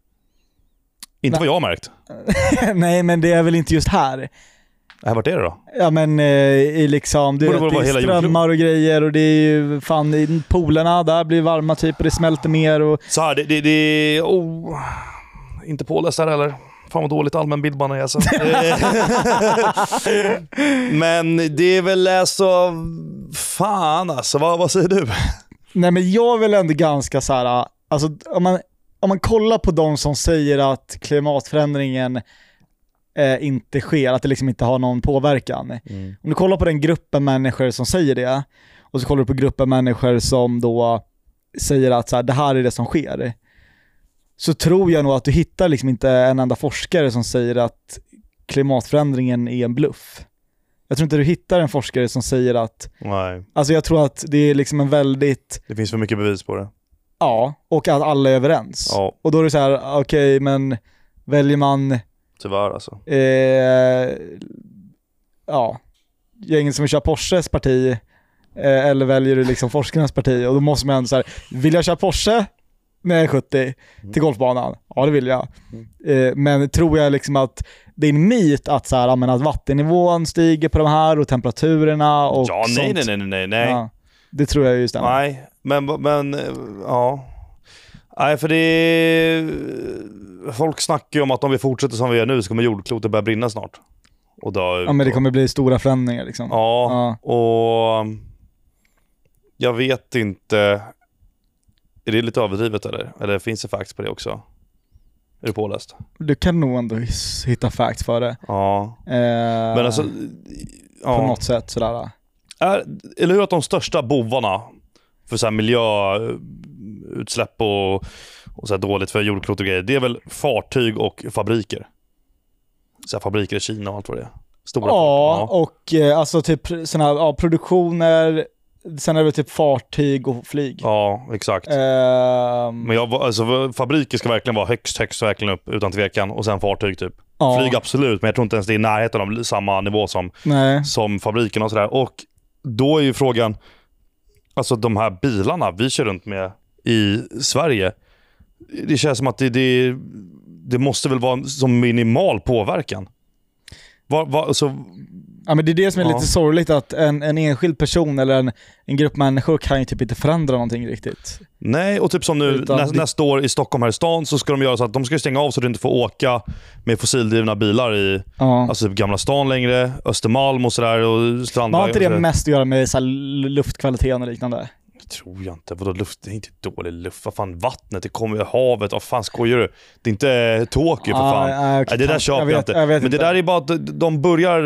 S2: Inte vad jag har märkt.
S1: [laughs] Nej, men det är väl inte just här.
S2: Äh, vart är det då?
S1: Ja men eh, i liksom, det,
S2: Borde väl
S1: det
S2: vara
S1: är
S2: hela
S1: strömmar och grejer och det är ju fan i polerna där blir varma typ och det smälter mer och
S2: Så här, det... det, det oh, inte påläst här heller. Fan vad dåligt allmänbild man är [laughs] alltså. Eh, Men det är väl alltså... Fan alltså, vad, vad säger du?
S1: Nej men jag är väl ändå ganska så här, alltså om man, om man kollar på de som säger att klimatförändringen eh, inte sker, att det liksom inte har någon påverkan. Om du kollar på den gruppen människor som säger det och så kollar du på gruppen människor som då säger att så här, det här är det som sker. Så tror jag nog att du hittar liksom inte en enda forskare som säger att klimatförändringen är en bluff. Jag tror inte du hittar en forskare som säger att,
S2: Nej,
S1: alltså jag tror att det är liksom en väldigt
S2: det finns för mycket bevis på det.
S1: Ja, och att alla är överens.
S2: Ja,
S1: Och då är det så här, okej men väljer man,
S2: tyvärr alltså.
S1: eh, ja, gänget som kör Porsches parti eh, eller väljer du liksom forskarnas parti? Och då måste man ändå så här, vill jag köra Porsche när jag är 70
S2: Mm.
S1: till golfbanan? Ja det vill jag. Eh, men tror jag liksom att det är en myt att, så här, ja, men att vattennivån stiger på de här och temperaturerna och
S2: Ja, nej,
S1: sånt.
S2: nej, nej, nej, nej. nej.
S1: Ja, det tror jag ju stämmer.
S2: Nej, men, men eh, ja. Nej, för det är... Folk snackar ju om att om vi fortsätter som vi gör nu så kommer jordklotet börja brinna snart. Och dö ut.
S1: Ja men det kommer bli stora förändringar liksom.
S2: Ja, och... Jag vet inte... Är det lite överdrivet eller? Eller finns det faktiskt på det också? Är du påläst?
S1: Du kan nog ändå his- hitta facts för det.
S2: Ja.
S1: Eh,
S2: Men alltså...
S1: På
S2: Ja.
S1: något sätt sådär.
S2: Är, eller hur att de största bovarna för så här miljöutsläpp och, och så här dåligt för jordklot och grejer, det är väl fartyg och fabriker? Så här fabriker i Kina och allt vad det är. Stora
S1: Ja,
S2: fartyg.
S1: och eh, alltså typ sådana här ja, produktioner, sen är det väl typ fartyg och flyg.
S2: ja,
S1: eh,
S2: exakt.
S1: Ehm,
S2: Men jag, var- alltså, fabriker ska verkligen vara högst, högst verkligen upp utan tvekan. Och sen fartyg typ.
S1: ja,
S2: Flyg absolut, men jag tror inte ens det är i närheten av samma nivå som
S1: Nej.
S2: som fabriken och sådär. Och då är ju frågan, alltså de här bilarna vi kör runt med i Sverige. Det känns som att det, det, det måste väl vara en som minimal påverkan. Var, var, alltså,
S1: Ja, men det är det som är
S2: Ja.
S1: lite sorgligt att en, en enskild person eller en, en grupp människor kan ju typ inte förändra någonting riktigt.
S2: nej, och typ som nu
S1: Utan
S2: nä,
S1: det-
S2: nästa år i Stockholm här i stan så ska de göra så att de ska stänga av så att du inte får åka med fossildrivna bilar i
S1: Ja.
S2: alltså, typ Gamla stan längre, Östermalm och sådär och
S1: Men har
S2: Strandvägen.
S1: inte
S2: och
S1: det
S2: sådär.
S1: mest att göra med så här, luftkvaliteten och liknande?
S2: tror jag inte. Vadå luft? Det är inte dålig luft. Vad fan, vattnet, det kommer ju havet. Vad fan skojar du? Det är inte eh, Tokyo för
S1: Ah,
S2: fan.
S1: nej, okej,
S2: nej, det där
S1: tack.
S2: köper
S1: Jag
S2: jag,
S1: vet-
S2: inte.
S1: jag vet
S2: Men det
S1: inte.
S2: där är bara att de- de börjar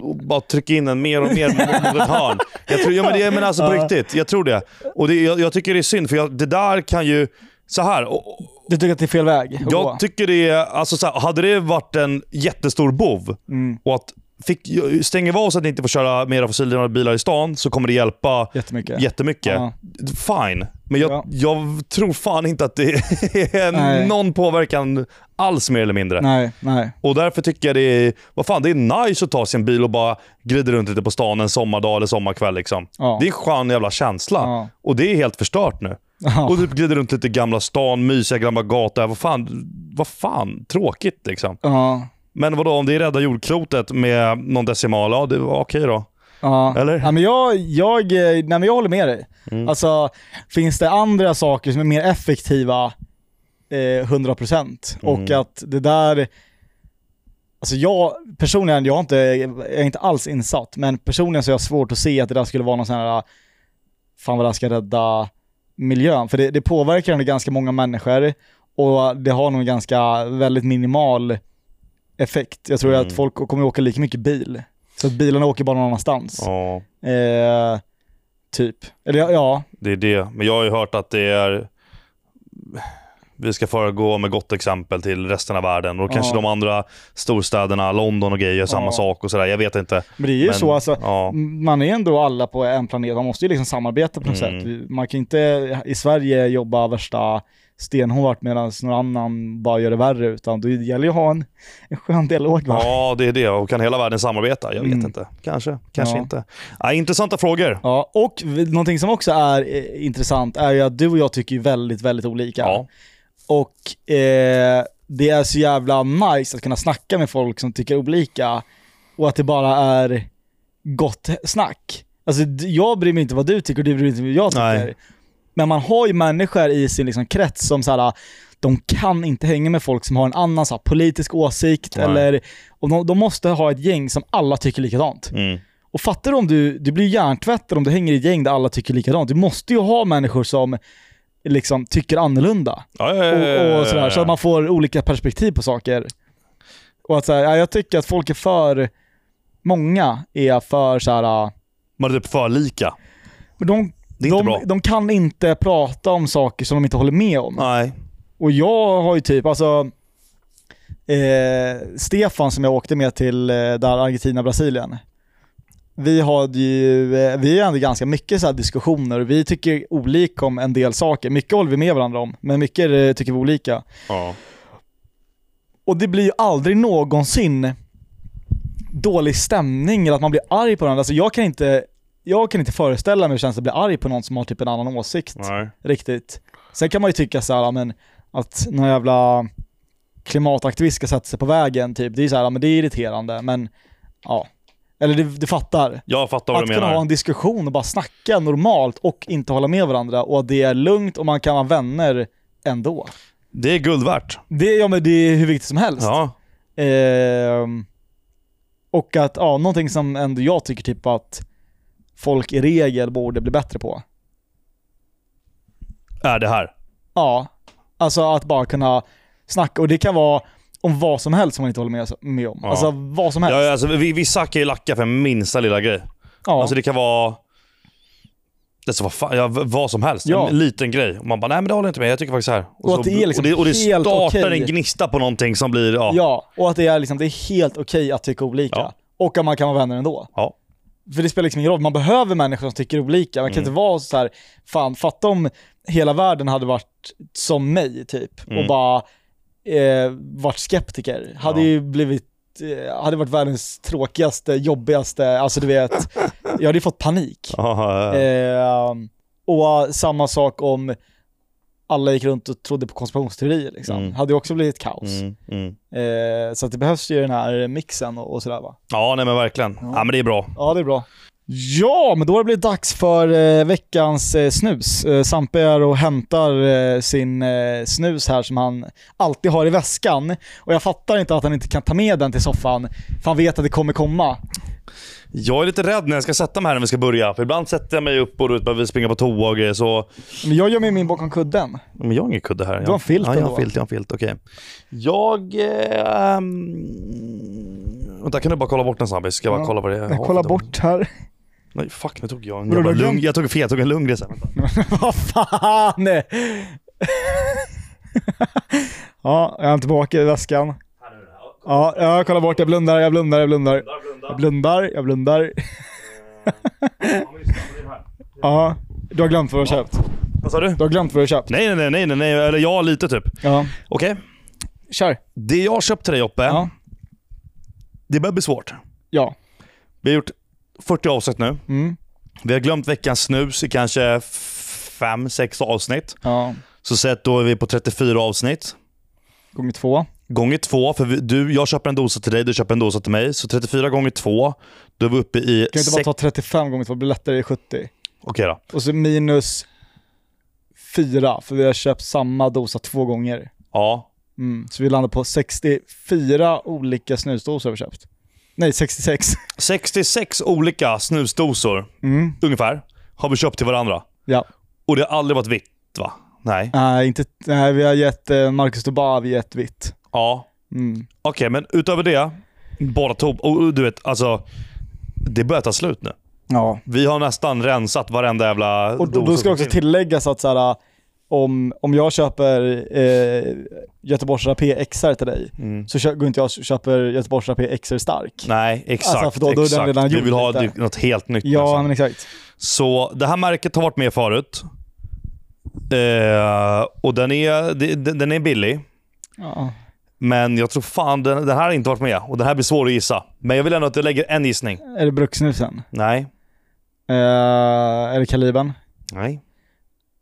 S2: och bara trycka in en mer och mer
S1: [laughs]
S2: mot- mot ett hörn. Jag tror, ja, men det, men alltså på riktigt. Jag tror det. Och det, jag, jag tycker det är synd, för jag, det där kan ju... Så här, och, och-
S1: Du tycker att det är fel väg att gå?
S2: jag tycker det är... Alltså så här, hade det varit en jättestor bov
S1: Mm.
S2: och att fick, stänger vi av så att ni inte får köra mera fossildrivna bilar i stan så kommer det hjälpa
S1: Jättemycket.
S2: jättemycket.
S1: Ja.
S2: Fine. Men jag,
S1: Ja.
S2: jag tror fan inte att det [laughs] är
S1: Nej.
S2: någon påverkan alls mer eller mindre.
S1: nej, nej.
S2: Och därför tycker jag det är, vad fan, det är nice att ta sin bil och bara glida runt lite på stan en sommardag eller sommarkväll. Liksom.
S1: Ja.
S2: Det är en skön jävla känsla.
S1: Ja.
S2: Och det är helt förstört nu.
S1: Ja.
S2: Och typ glida runt lite i gamla stan, mysiga gamla gator. Vad fan, vad fan tråkigt liksom.
S1: Ja.
S2: Men vadå, om det är rädda jordklotet med någon decimal, ja det var okej då.
S1: Ja.
S2: Eller?
S1: Ja, men jag, jag, eh, nej, men jag håller med dig. Alltså, finns det andra saker som är mer effektiva eh, 100% och att det där Alltså jag personligen, jag, har inte, jag är inte alls insatt, men personligen så är jag svårt att se att det där skulle vara någon sån här, eh, fan vad det här ska rädda miljön. För det, det påverkar ändå ganska många människor och det har nog en ganska väldigt minimal effekt. Jag tror att folk kommer åka lika mycket bil Så att bilarna åker bara någon annanstans.
S2: Ja,
S1: Eh, typ. Eller ja, ja,
S2: det är det. Men jag har ju hört att det är... Vi ska föregå med gott exempel till resten av världen. Och kanske
S1: Ja.
S2: de andra storstäderna, London och grejer, gör samma
S1: Ja.
S2: sak och sådär. Jag vet inte.
S1: men det är ju
S2: Men,
S1: så alltså.
S2: Ja.
S1: Man är ändå alla på en planet, man måste ju liksom samarbeta på något
S2: Mm.
S1: sätt. Man kan inte i Sverige jobba värsta stenhårt medan någon annan bara gör det värre, utan det gäller ju att ha en, en skön dialog. Va?
S2: ja, det är det. Och kan hela världen samarbeta? Jag vet
S1: Mm.
S2: inte. Kanske, kanske
S1: Ja.
S2: inte. Ja, intressanta frågor.
S1: Ja, och v- någonting som också är eh, intressant är ju att du och jag tycker ju väldigt, väldigt olika.
S2: Ja.
S1: Och eh, det är så jävla nice att kunna snacka med folk som tycker olika och att det bara är gott snack. Alltså d- jag bryr mig inte vad du tycker och du bryr dig inte vad jag tycker.
S2: Nej.
S1: Men man har ju människor i sin liksom krets som så här, de kan inte hänga med folk som har en annan så här, politisk åsikt
S2: Nej.
S1: eller, och de, de måste ha ett gäng som alla tycker likadant.
S2: Mm.
S1: Och fattar du om du, du blir hjärntvättad om du hänger i ett gäng där alla tycker likadant. Du måste ju ha människor som liksom tycker annorlunda.
S2: Ja, ja, ja, ja,
S1: Och,
S2: ja,
S1: och sådär,
S2: ja.
S1: så att man får olika perspektiv på saker. Och att såhär, ja, jag tycker att folk är för, många är för såhär, ja,
S2: Man är typ för lika.
S1: men de,
S2: Det är inte
S1: de,
S2: bra.
S1: de kan inte prata om saker som de inte håller med om.
S2: Nej.
S1: Och jag har ju typ, alltså eh, Stefan som jag åkte med till eh, där Argentina, Brasilien. Vi hade ju, eh, vi har ändå ganska mycket så här diskussioner och vi tycker olika om en del saker. Mycket håller vi med varandra om, men mycket eh, tycker vi olika.
S2: Ja.
S1: Och det blir ju aldrig någonsin dålig stämning eller att man blir arg på varandra. Alltså jag kan inte, jag kan inte föreställa mig hur det känns att bli arg på någon som har typ en annan åsikt
S2: Nej.
S1: riktigt. Sen kan man ju tycka så här, ja, men att någon jävla klimataktivist ska sätta sig på vägen, typ. det är ju så här, ja, men det är irriterande, men ja. Eller du, du fattar.
S2: Jag fattar vad
S1: Att
S2: du
S1: kunna ha
S2: menar.
S1: en diskussion och bara snacka normalt och inte hålla med varandra och att det är lugnt och man kan vara vänner ändå.
S2: Det är guld värt.
S1: Det, ja, men det är hur viktigt som helst.
S2: Ja.
S1: Ehm, och att, ja, någonting som ändå jag tycker typ att folk i regel borde bli bättre på.
S2: Är det här.
S1: Ja, alltså att bara kunna snacka. Och det kan vara om vad som helst som man inte håller med, med om.
S2: Ja.
S1: Alltså vad som helst.
S2: Ja, alltså, vi, vissa kan ju lacka för minsta lilla grej.
S1: Ja.
S2: Alltså det kan vara... Alltså, vad, fan, ja, v- vad som helst.
S1: Ja.
S2: En liten grej. Och man bara, nej men det håller jag inte med. Jag tycker faktiskt så här.
S1: Och
S2: så,
S1: att det är liksom
S2: och det, och det
S1: helt
S2: startar
S1: okej.
S2: en gnista på någonting som blir... Ja. ja.
S1: ja, och att det är, liksom, det är helt okej att tycka olika.
S2: Ja.
S1: Och att man kan vara vänner ändå.
S2: Ja.
S1: För det spelar liksom ingen roll, man behöver människor som tycker olika. Man kan inte
S2: Mm.
S1: vara så här, fan fatta om hela världen hade varit som mig typ och
S2: Mm.
S1: bara eh, varit skeptiker. Hade
S2: Ja.
S1: ju blivit, eh, hade varit världens tråkigaste, jobbigaste, alltså du vet, jag hade ju fått panik.
S2: ja, ja.
S1: Eh, och eh, samma sak om alla gick runt och trodde på konspirationsteorier. Liksom.
S2: Mm.
S1: hade ju också blivit kaos.
S2: Mm, mm.
S1: Eh, så att det behövs ju den här mixen och, och sådär va.
S2: ja, nej men verkligen. Ja.
S1: Ja.
S2: men det är bra.
S1: Ja, det är bra. Ja, men då har det blivit dags för eh, veckans eh, snus. Eh, Sampe är och hämtar eh, sin eh, snus här som han alltid har i väskan. Och jag fattar inte att han inte kan ta med den till soffan, för han vet att det kommer komma.
S2: Jag är lite rädd när jag ska sätta mig här när vi ska börja. För ibland sätter jag mig upp och du vet, behöver springa på toa och grejer. Så...
S1: Men jag gömmer min bakom kudden.
S2: Men jag har ingen kudde här. Du
S1: har en filt
S2: ja, jag har en
S1: ändå.
S2: filt, jag har en filt. Okej. Jag... Eh, ehm, Vänta, kan du bara kolla bort den snabbis? Ska jag bara
S1: Ja.
S2: kolla vad det är?
S1: Jag kollar bort här. [laughs]
S2: Nej, fuck. Nu tog jag en
S1: Vadå,
S2: jävla
S1: du har
S2: lugn...
S1: glömt-
S2: Jag tog fel. Jag tog en lugn grej sen. Vänta.
S1: Vad fan! [laughs] ja, jag är tillbaka i väskan. Ja, jag kollar bort. Jag blundar, jag blundar, jag blundar. Jag blundar, jag blundar. Ja, du har glömt vad du har köpt.
S2: Vad sa du?
S1: Du har glömt vad du har köpt.
S2: Nej, nej, nej, nej, nej, nej. Eller ja, lite typ.
S1: Ja,
S2: Okej.
S1: kör.
S2: Det jag har köpt till dig Joppe,
S1: Ja.
S2: det börjar bli svårt.
S1: Ja.
S2: Vi har gjort 40 avsnitt nu.
S1: Mm.
S2: Vi har glömt veckans snus i kanske 5-6 avsnitt.
S1: Ja.
S2: Så sett då är vi på 34 avsnitt.
S1: Gånger två.
S2: Gånger två, för vi, du, jag köper en dosa till dig, du köper en dosa till mig. Så 34 gånger två, då är vi uppe i...
S1: Kan vi inte bara
S2: sex-
S1: ta 35 gånger två? Det blir lättare i 70.
S2: Okej då.
S1: Och så minus fyra, för vi har köpt samma dosa två gånger.
S2: Ja.
S1: Mm. Så vi landar på 64 olika snusdosor har vi köpt. Nej, 66.
S2: 66 olika snusdosor,
S1: Mm.
S2: ungefär, har vi köpt till varandra.
S1: Ja.
S2: Och det har aldrig varit vitt, va? Nej.
S1: [laughs] Nej, inte, nej, vi har gett eh, Marcus Tobavi ett vitt.
S2: Ja.
S1: Mm.
S2: Okej, men utöver det, bara tob... Och och du vet, alltså... det börjar ta slut nu.
S1: Ja.
S2: Vi har nästan rensat varenda jävla
S1: Och då, då ska också tilläggas att så här, om, om jag köper eh, Göteborgs Rapé XR till dig,
S2: Mm.
S1: så kö- går inte jag och köper Göteborgs Rapé XR stark.
S2: Nej, exakt.
S1: Alltså, för då- då är den
S2: exakt.
S1: redan
S2: Vi
S1: gjord
S2: vill ha
S1: lite.
S2: ett- något helt nytt.
S1: Ja,
S2: nästan.
S1: men exakt.
S2: Så det här märket har varit med förut. Eh, och den är, det- den den är billig.
S1: Ja.
S2: Men jag tror fan den, den här har inte varit med. Och den här blir svår att gissa. Men jag vill ändå att jag lägger en gissning.
S1: Är det brukssnusen?
S2: Nej.
S1: Eh, är det kalibern?
S2: Nej.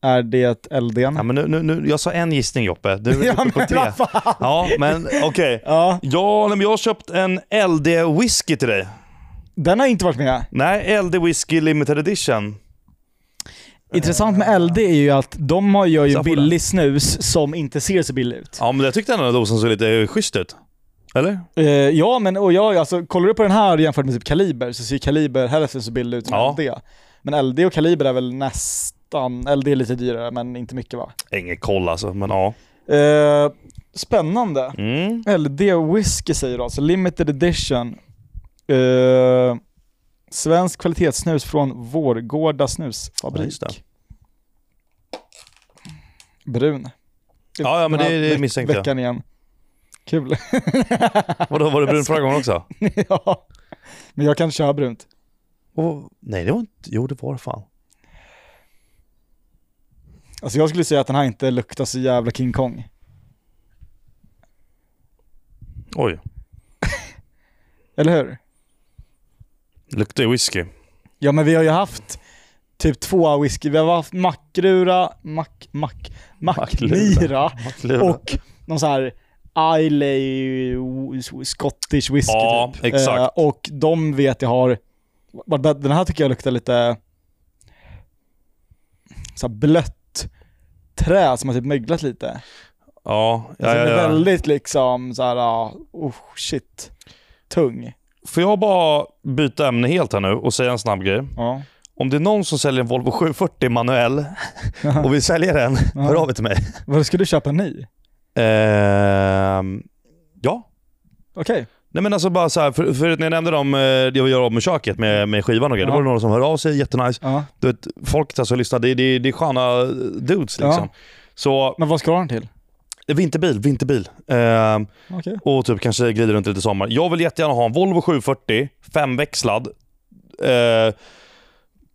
S1: Är det elden?
S2: Ja, men nu, nu, nu, jag sa en gissning
S1: [laughs]
S2: Joppe. Du är uppe på tre.
S1: vad fan?
S2: Ja, men okej.
S1: Ja,
S2: Ja, nej, men jag har köpt en LD whisky till dig.
S1: den har inte varit med.
S2: Nej, LD whisky limited edition.
S1: Intressant med LD är ju att de har- gör ju
S2: Sabola.
S1: billig snus som inte ser så billig ut.
S2: Ja, men jag tyckte den här dosen såg lite schysst ut. Eller?
S1: Eh, ja, men och jag, alltså, kollar du på den här jämfört med typ Kaliber så ser Kaliber hälften så billig ut som
S2: Ja.
S1: LD. Men LD och Kaliber är väl nästan, LD är lite dyrare men inte mycket va?
S2: Ingen koll alltså, men ja.
S1: Eh, spännande.
S2: Mm.
S1: LD whisky säger du alltså, limited edition. Eh, svensk kvalitetssnus från Vårgårda
S2: Ja,
S1: snusfabrik.
S2: just det.
S1: Brun.
S2: Ja, ja, men
S1: Den här
S2: det- det
S1: veck-
S2: misstänkte jag.
S1: Veckan igen. Kul. [laughs]
S2: Vadå, var det brun förra gången också?
S1: ja. Men jag kan köra brunt.
S2: Och, nej, det var inte... Jo, det var det fan.
S1: Alltså jag skulle säga att den här inte luktar så jävla King Kong.
S2: Oj.
S1: Eller hur?
S2: Luktar ju whisky.
S1: Ja men vi har ju haft typ två whisky. Vi har haft Mackrura, Mack... Mack...
S2: Ah,
S1: Macklira [laughs] och någon så här Islay Scottish whisky
S2: Ja,
S1: typ.
S2: exakt.
S1: Eh, och de vet jag har... varit bättre. Den här tycker jag luktar lite... Så här blött trä som har typ möglat lite.
S2: Ja, ja,
S1: Alltså
S2: ja,
S1: Den är
S2: ja.
S1: väldigt liksom så här, ah, oh shit, tung.
S2: Får jag bara byta ämne helt här nu och säga en snabb grej?
S1: Ja.
S2: Om det är någon som säljer en Volvo 740 manuell och vill sälja den,
S1: [laughs]
S2: hör av er till mig.
S1: Vad ska du köpa en ny?
S2: Ehm, ja.
S1: Okej.
S2: Nej men alltså bara så här, för, förut när jag nämnde dem, eh, jag gör om i köket med, med skivan och grejer,
S1: Ja.
S2: då var det några som hörde av sig, jättenice.
S1: Ja.
S2: Du vet, folk alltså lyssnar, det, det, det är sköna dudes
S1: Ja.
S2: liksom. Så,
S1: Men vad ska du ha den till?
S2: vinterbil, vinterbil. Ehm,
S1: Okej.
S2: och typ kanske glider runt lite i sommar. Jag vill jättegärna ha en Volvo 740, femväxlad. Eh,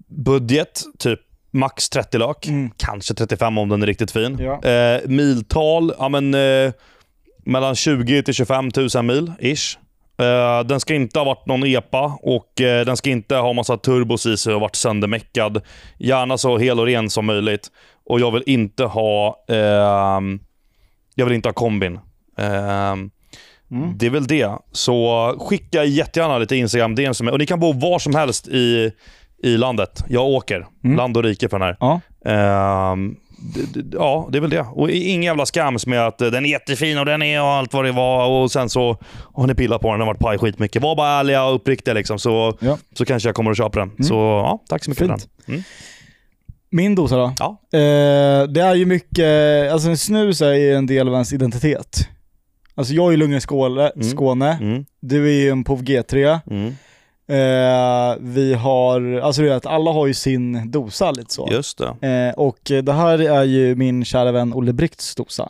S2: budget, typ max 30 lök.
S1: Mm.
S2: Kanske 35 om den är riktigt fin.
S1: Ja.
S2: Eh, miltal, ja men eh, mellan 20 till 25 000 mil, ish. Eh, den ska inte ha varit någon epa och eh, den ska inte ha massa turbos i sig och varit söndermäckad. Gärna så hel och ren som möjligt. Och jag vill inte ha... ehm, jag vill inte ha kombin. Ehm,
S1: Mm.
S2: Det är väl det. Så skicka jättegärna lite Instagram DMs som är, Och ni kan bo var som helst i, i landet. Jag åker.
S1: Mm.
S2: Land och rike på den här.
S1: Ja.
S2: Ehm, d- d- ja, det är väl det. Och i- ingen jävla skams med att eh, den är jättefin och den är och allt vad det var och sen så har ni pillat på den. Den har varit paj skitmycket. Var bara ärliga och uppriktiga liksom så,
S1: Ja. Mm.
S2: så kanske jag kommer att köpa den. Så ja, tack så mycket
S1: Fint.
S2: för den. Mm.
S1: Min dosa då?
S2: Ja.
S1: Eh, det är ju mycket, alltså en snus är ju en del av ens identitet. Alltså jag är ju Lungen Skåle,
S2: Mm.
S1: Skåne,
S2: Mm.
S1: du är ju en POV G3.
S2: Mm.
S1: Eh, vi har, alltså du vet, alla har ju sin dosa lite så.
S2: Just det.
S1: Eh, och det här är ju min kära vän Olle Bricks dosa.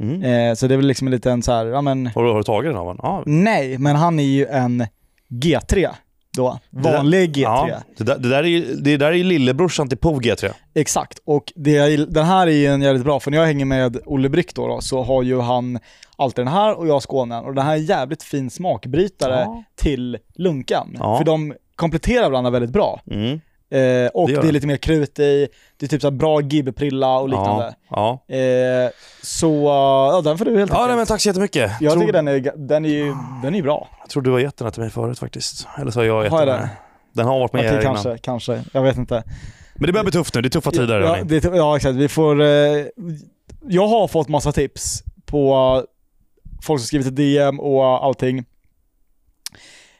S2: Mm.
S1: Eh, så det är väl liksom en liten så här, ja men
S2: Har, du, har du tagit den av honom? Ja.
S1: Nej, men han är ju en G3 då.
S2: där-
S1: Vanlig G3.
S2: Ja, det, där, det, där är ju, det där är ju lillebrorsan till POV G3.
S1: Exakt. Och det, jag gill- den här är ju en jävligt bra, för när jag hänger med Olle Brick då, då så har ju han alltid den här och jag Skånen. Och den här är en jävligt fin smakbrytare
S2: Ja.
S1: till lunkan.
S2: Ja.
S1: För de kompletterar varandra väldigt bra.
S2: Mm.
S1: Eh, och
S2: Det
S1: det,
S2: gör
S1: är
S2: de.
S1: lite mer krut i, det är typ så här bra gibbeprilla och liknande.
S2: Ja.
S1: Eh, så ja, den får du helt
S2: Ja, ja nej,
S1: enkelt.
S2: men tack så jättemycket.
S1: Jag
S2: tror,
S1: tycker den är, ga- den är ju den är ju bra.
S2: jag tror du har gett den här till mig förut faktiskt. Eller så har jag gett
S1: Har jag
S2: den. här. Den har varit med
S1: Okej,
S2: här innan.
S1: kanske, kanske. Jag vet inte.
S2: Men det börjar bli tufft nu. Det är tuffa tider.
S1: Ja,
S2: hörni.
S1: det, ja exakt. Vi får, eh, jag har fått massa tips på folk som skrivit till DM och allting.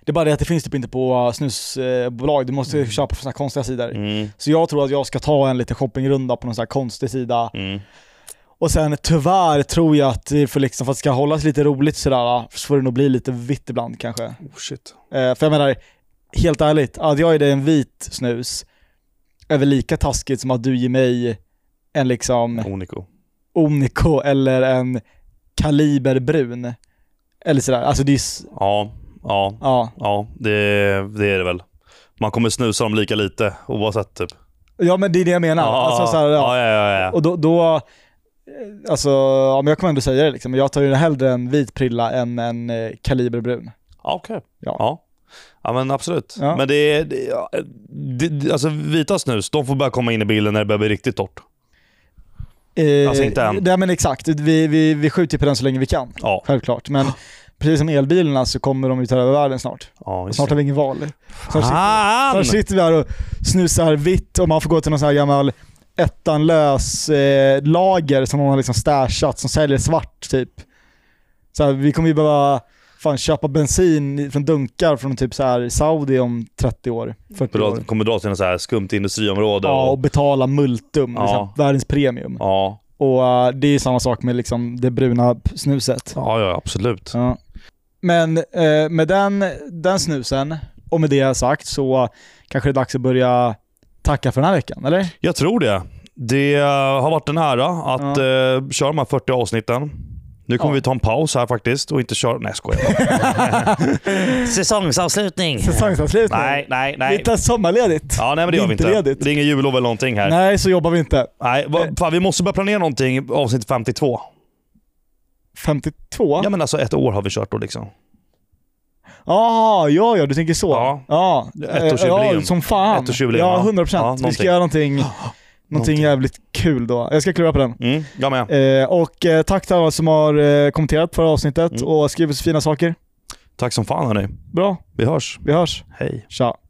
S1: Det är bara det att det finns typ inte på snusbolag. Du måste köpa från sådana här konstiga sidor.
S2: Mm.
S1: Så jag tror att jag ska ta en liten shoppingrunda på någon sån här konstig sida.
S2: Mm.
S1: Och sen tyvärr tror jag att det för, liksom, för att det ska hållas lite roligt sådär, så får det nog bli lite vitt ibland kanske.
S2: Oh, shit.
S1: Eh, för jag menar, helt ärligt, att jag är dig en vit snus är väl lika taskigt som att du ger mig en liksom
S2: Onico.
S1: Omnico eller en Kaliber brun. Eller sådär, alltså det är, s-
S2: Ja, ja,
S1: ja.
S2: ja det, det är det väl. Man kommer snusa dem lika lite oavsett typ.
S1: Ja men det är det jag menar. alltså, såhär, ja.
S2: ja, ja, ja, ja.
S1: Och då, då eh, alltså, ja, men jag kommer ändå säga det liksom. men Jag tar ju hellre en vit prilla än en eh, Kaliber brun.
S2: Ja, okej.
S1: Ja.
S2: Ja. ja. men absolut.
S1: Ja.
S2: Men det är... Det, ja, det, det- alltså vita snus, de får börja komma in i bilden när det börjar bli riktigt torrt.
S1: Eh,
S2: Alltså, inte än.
S1: Nej men exakt, vi, vi, vi skjuter på den så länge vi kan.
S2: Ja,
S1: Självklart. Men precis som elbilarna så kommer de ju ta över världen snart.
S2: ja
S1: Och
S2: just
S1: snart har vi
S2: det.
S1: ingen val. Snart sitter,
S2: Fan!
S1: snart sitter vi här och snusar vitt och man får gå till någon sån här gammal ettanlös eh, lager som någon har liksom stashat som säljer svart typ. Så här, vi kommer ju behöva fan, köpa bensin från dunkar från typ så här Saudi om 30 år, 40 år.
S2: Dra- Kommer dra till något så här skumt industriområde.
S1: Ja, och
S2: Och,
S1: betala multum,
S2: Ja.
S1: liksom, världens premium.
S2: ja.
S1: Och eh, det är ju samma sak med liksom, det bruna p- snuset.
S2: ja, ja, absolut.
S1: Ja. Men eh, med den, den snusen och med det sagt så kanske det är dags att börja tacka för den här veckan, eller?
S2: Jag tror det. Det eh, har varit en ära att eh, köra de här 40 avsnitten. Nu kommer
S1: Ja.
S2: vi ta en paus här faktiskt och inte köra... Nej, jag [laughs] skojar.
S1: [laughs]
S3: Säsongsavslutning.
S1: Säsongsavslutning.
S2: nej, nej,
S1: Vi
S2: nej.
S1: tar sommarledigt.
S2: Ja, nej, men det gör vi inte.
S1: Vinterledigt.
S2: Det är ingen jullov eller någonting här. Nej.
S1: Nej, så jobbar vi inte.
S2: vad- fan, vi måste börja planera någonting avsnitt 52.
S1: 52?
S2: Ja men alltså ett år har vi kört då liksom.
S1: Jaha, Ah, ja, ja, du tänker så.
S2: Ja.
S1: ja. Eh,
S2: Ettårsjubileum.
S1: Ja, som fan.
S2: Ettårsjubileum,
S1: ja,
S2: ja.
S1: 100%.
S2: Ja,
S1: vi ska
S2: någonting.
S1: göra
S2: [gasps]
S1: någonting, någonting
S2: Någonting.
S1: jävligt kul då. Jag ska klura på den.
S2: Mm, jag med.
S1: Eh, och eh, tack till alla som har eh, kommenterat förra avsnittet
S2: Mm.
S1: och skrivit så fina saker.
S2: Tack som fan hörni.
S1: Bra,
S2: Vi hörs.
S1: vi hörs.
S2: Hej.
S1: Tja.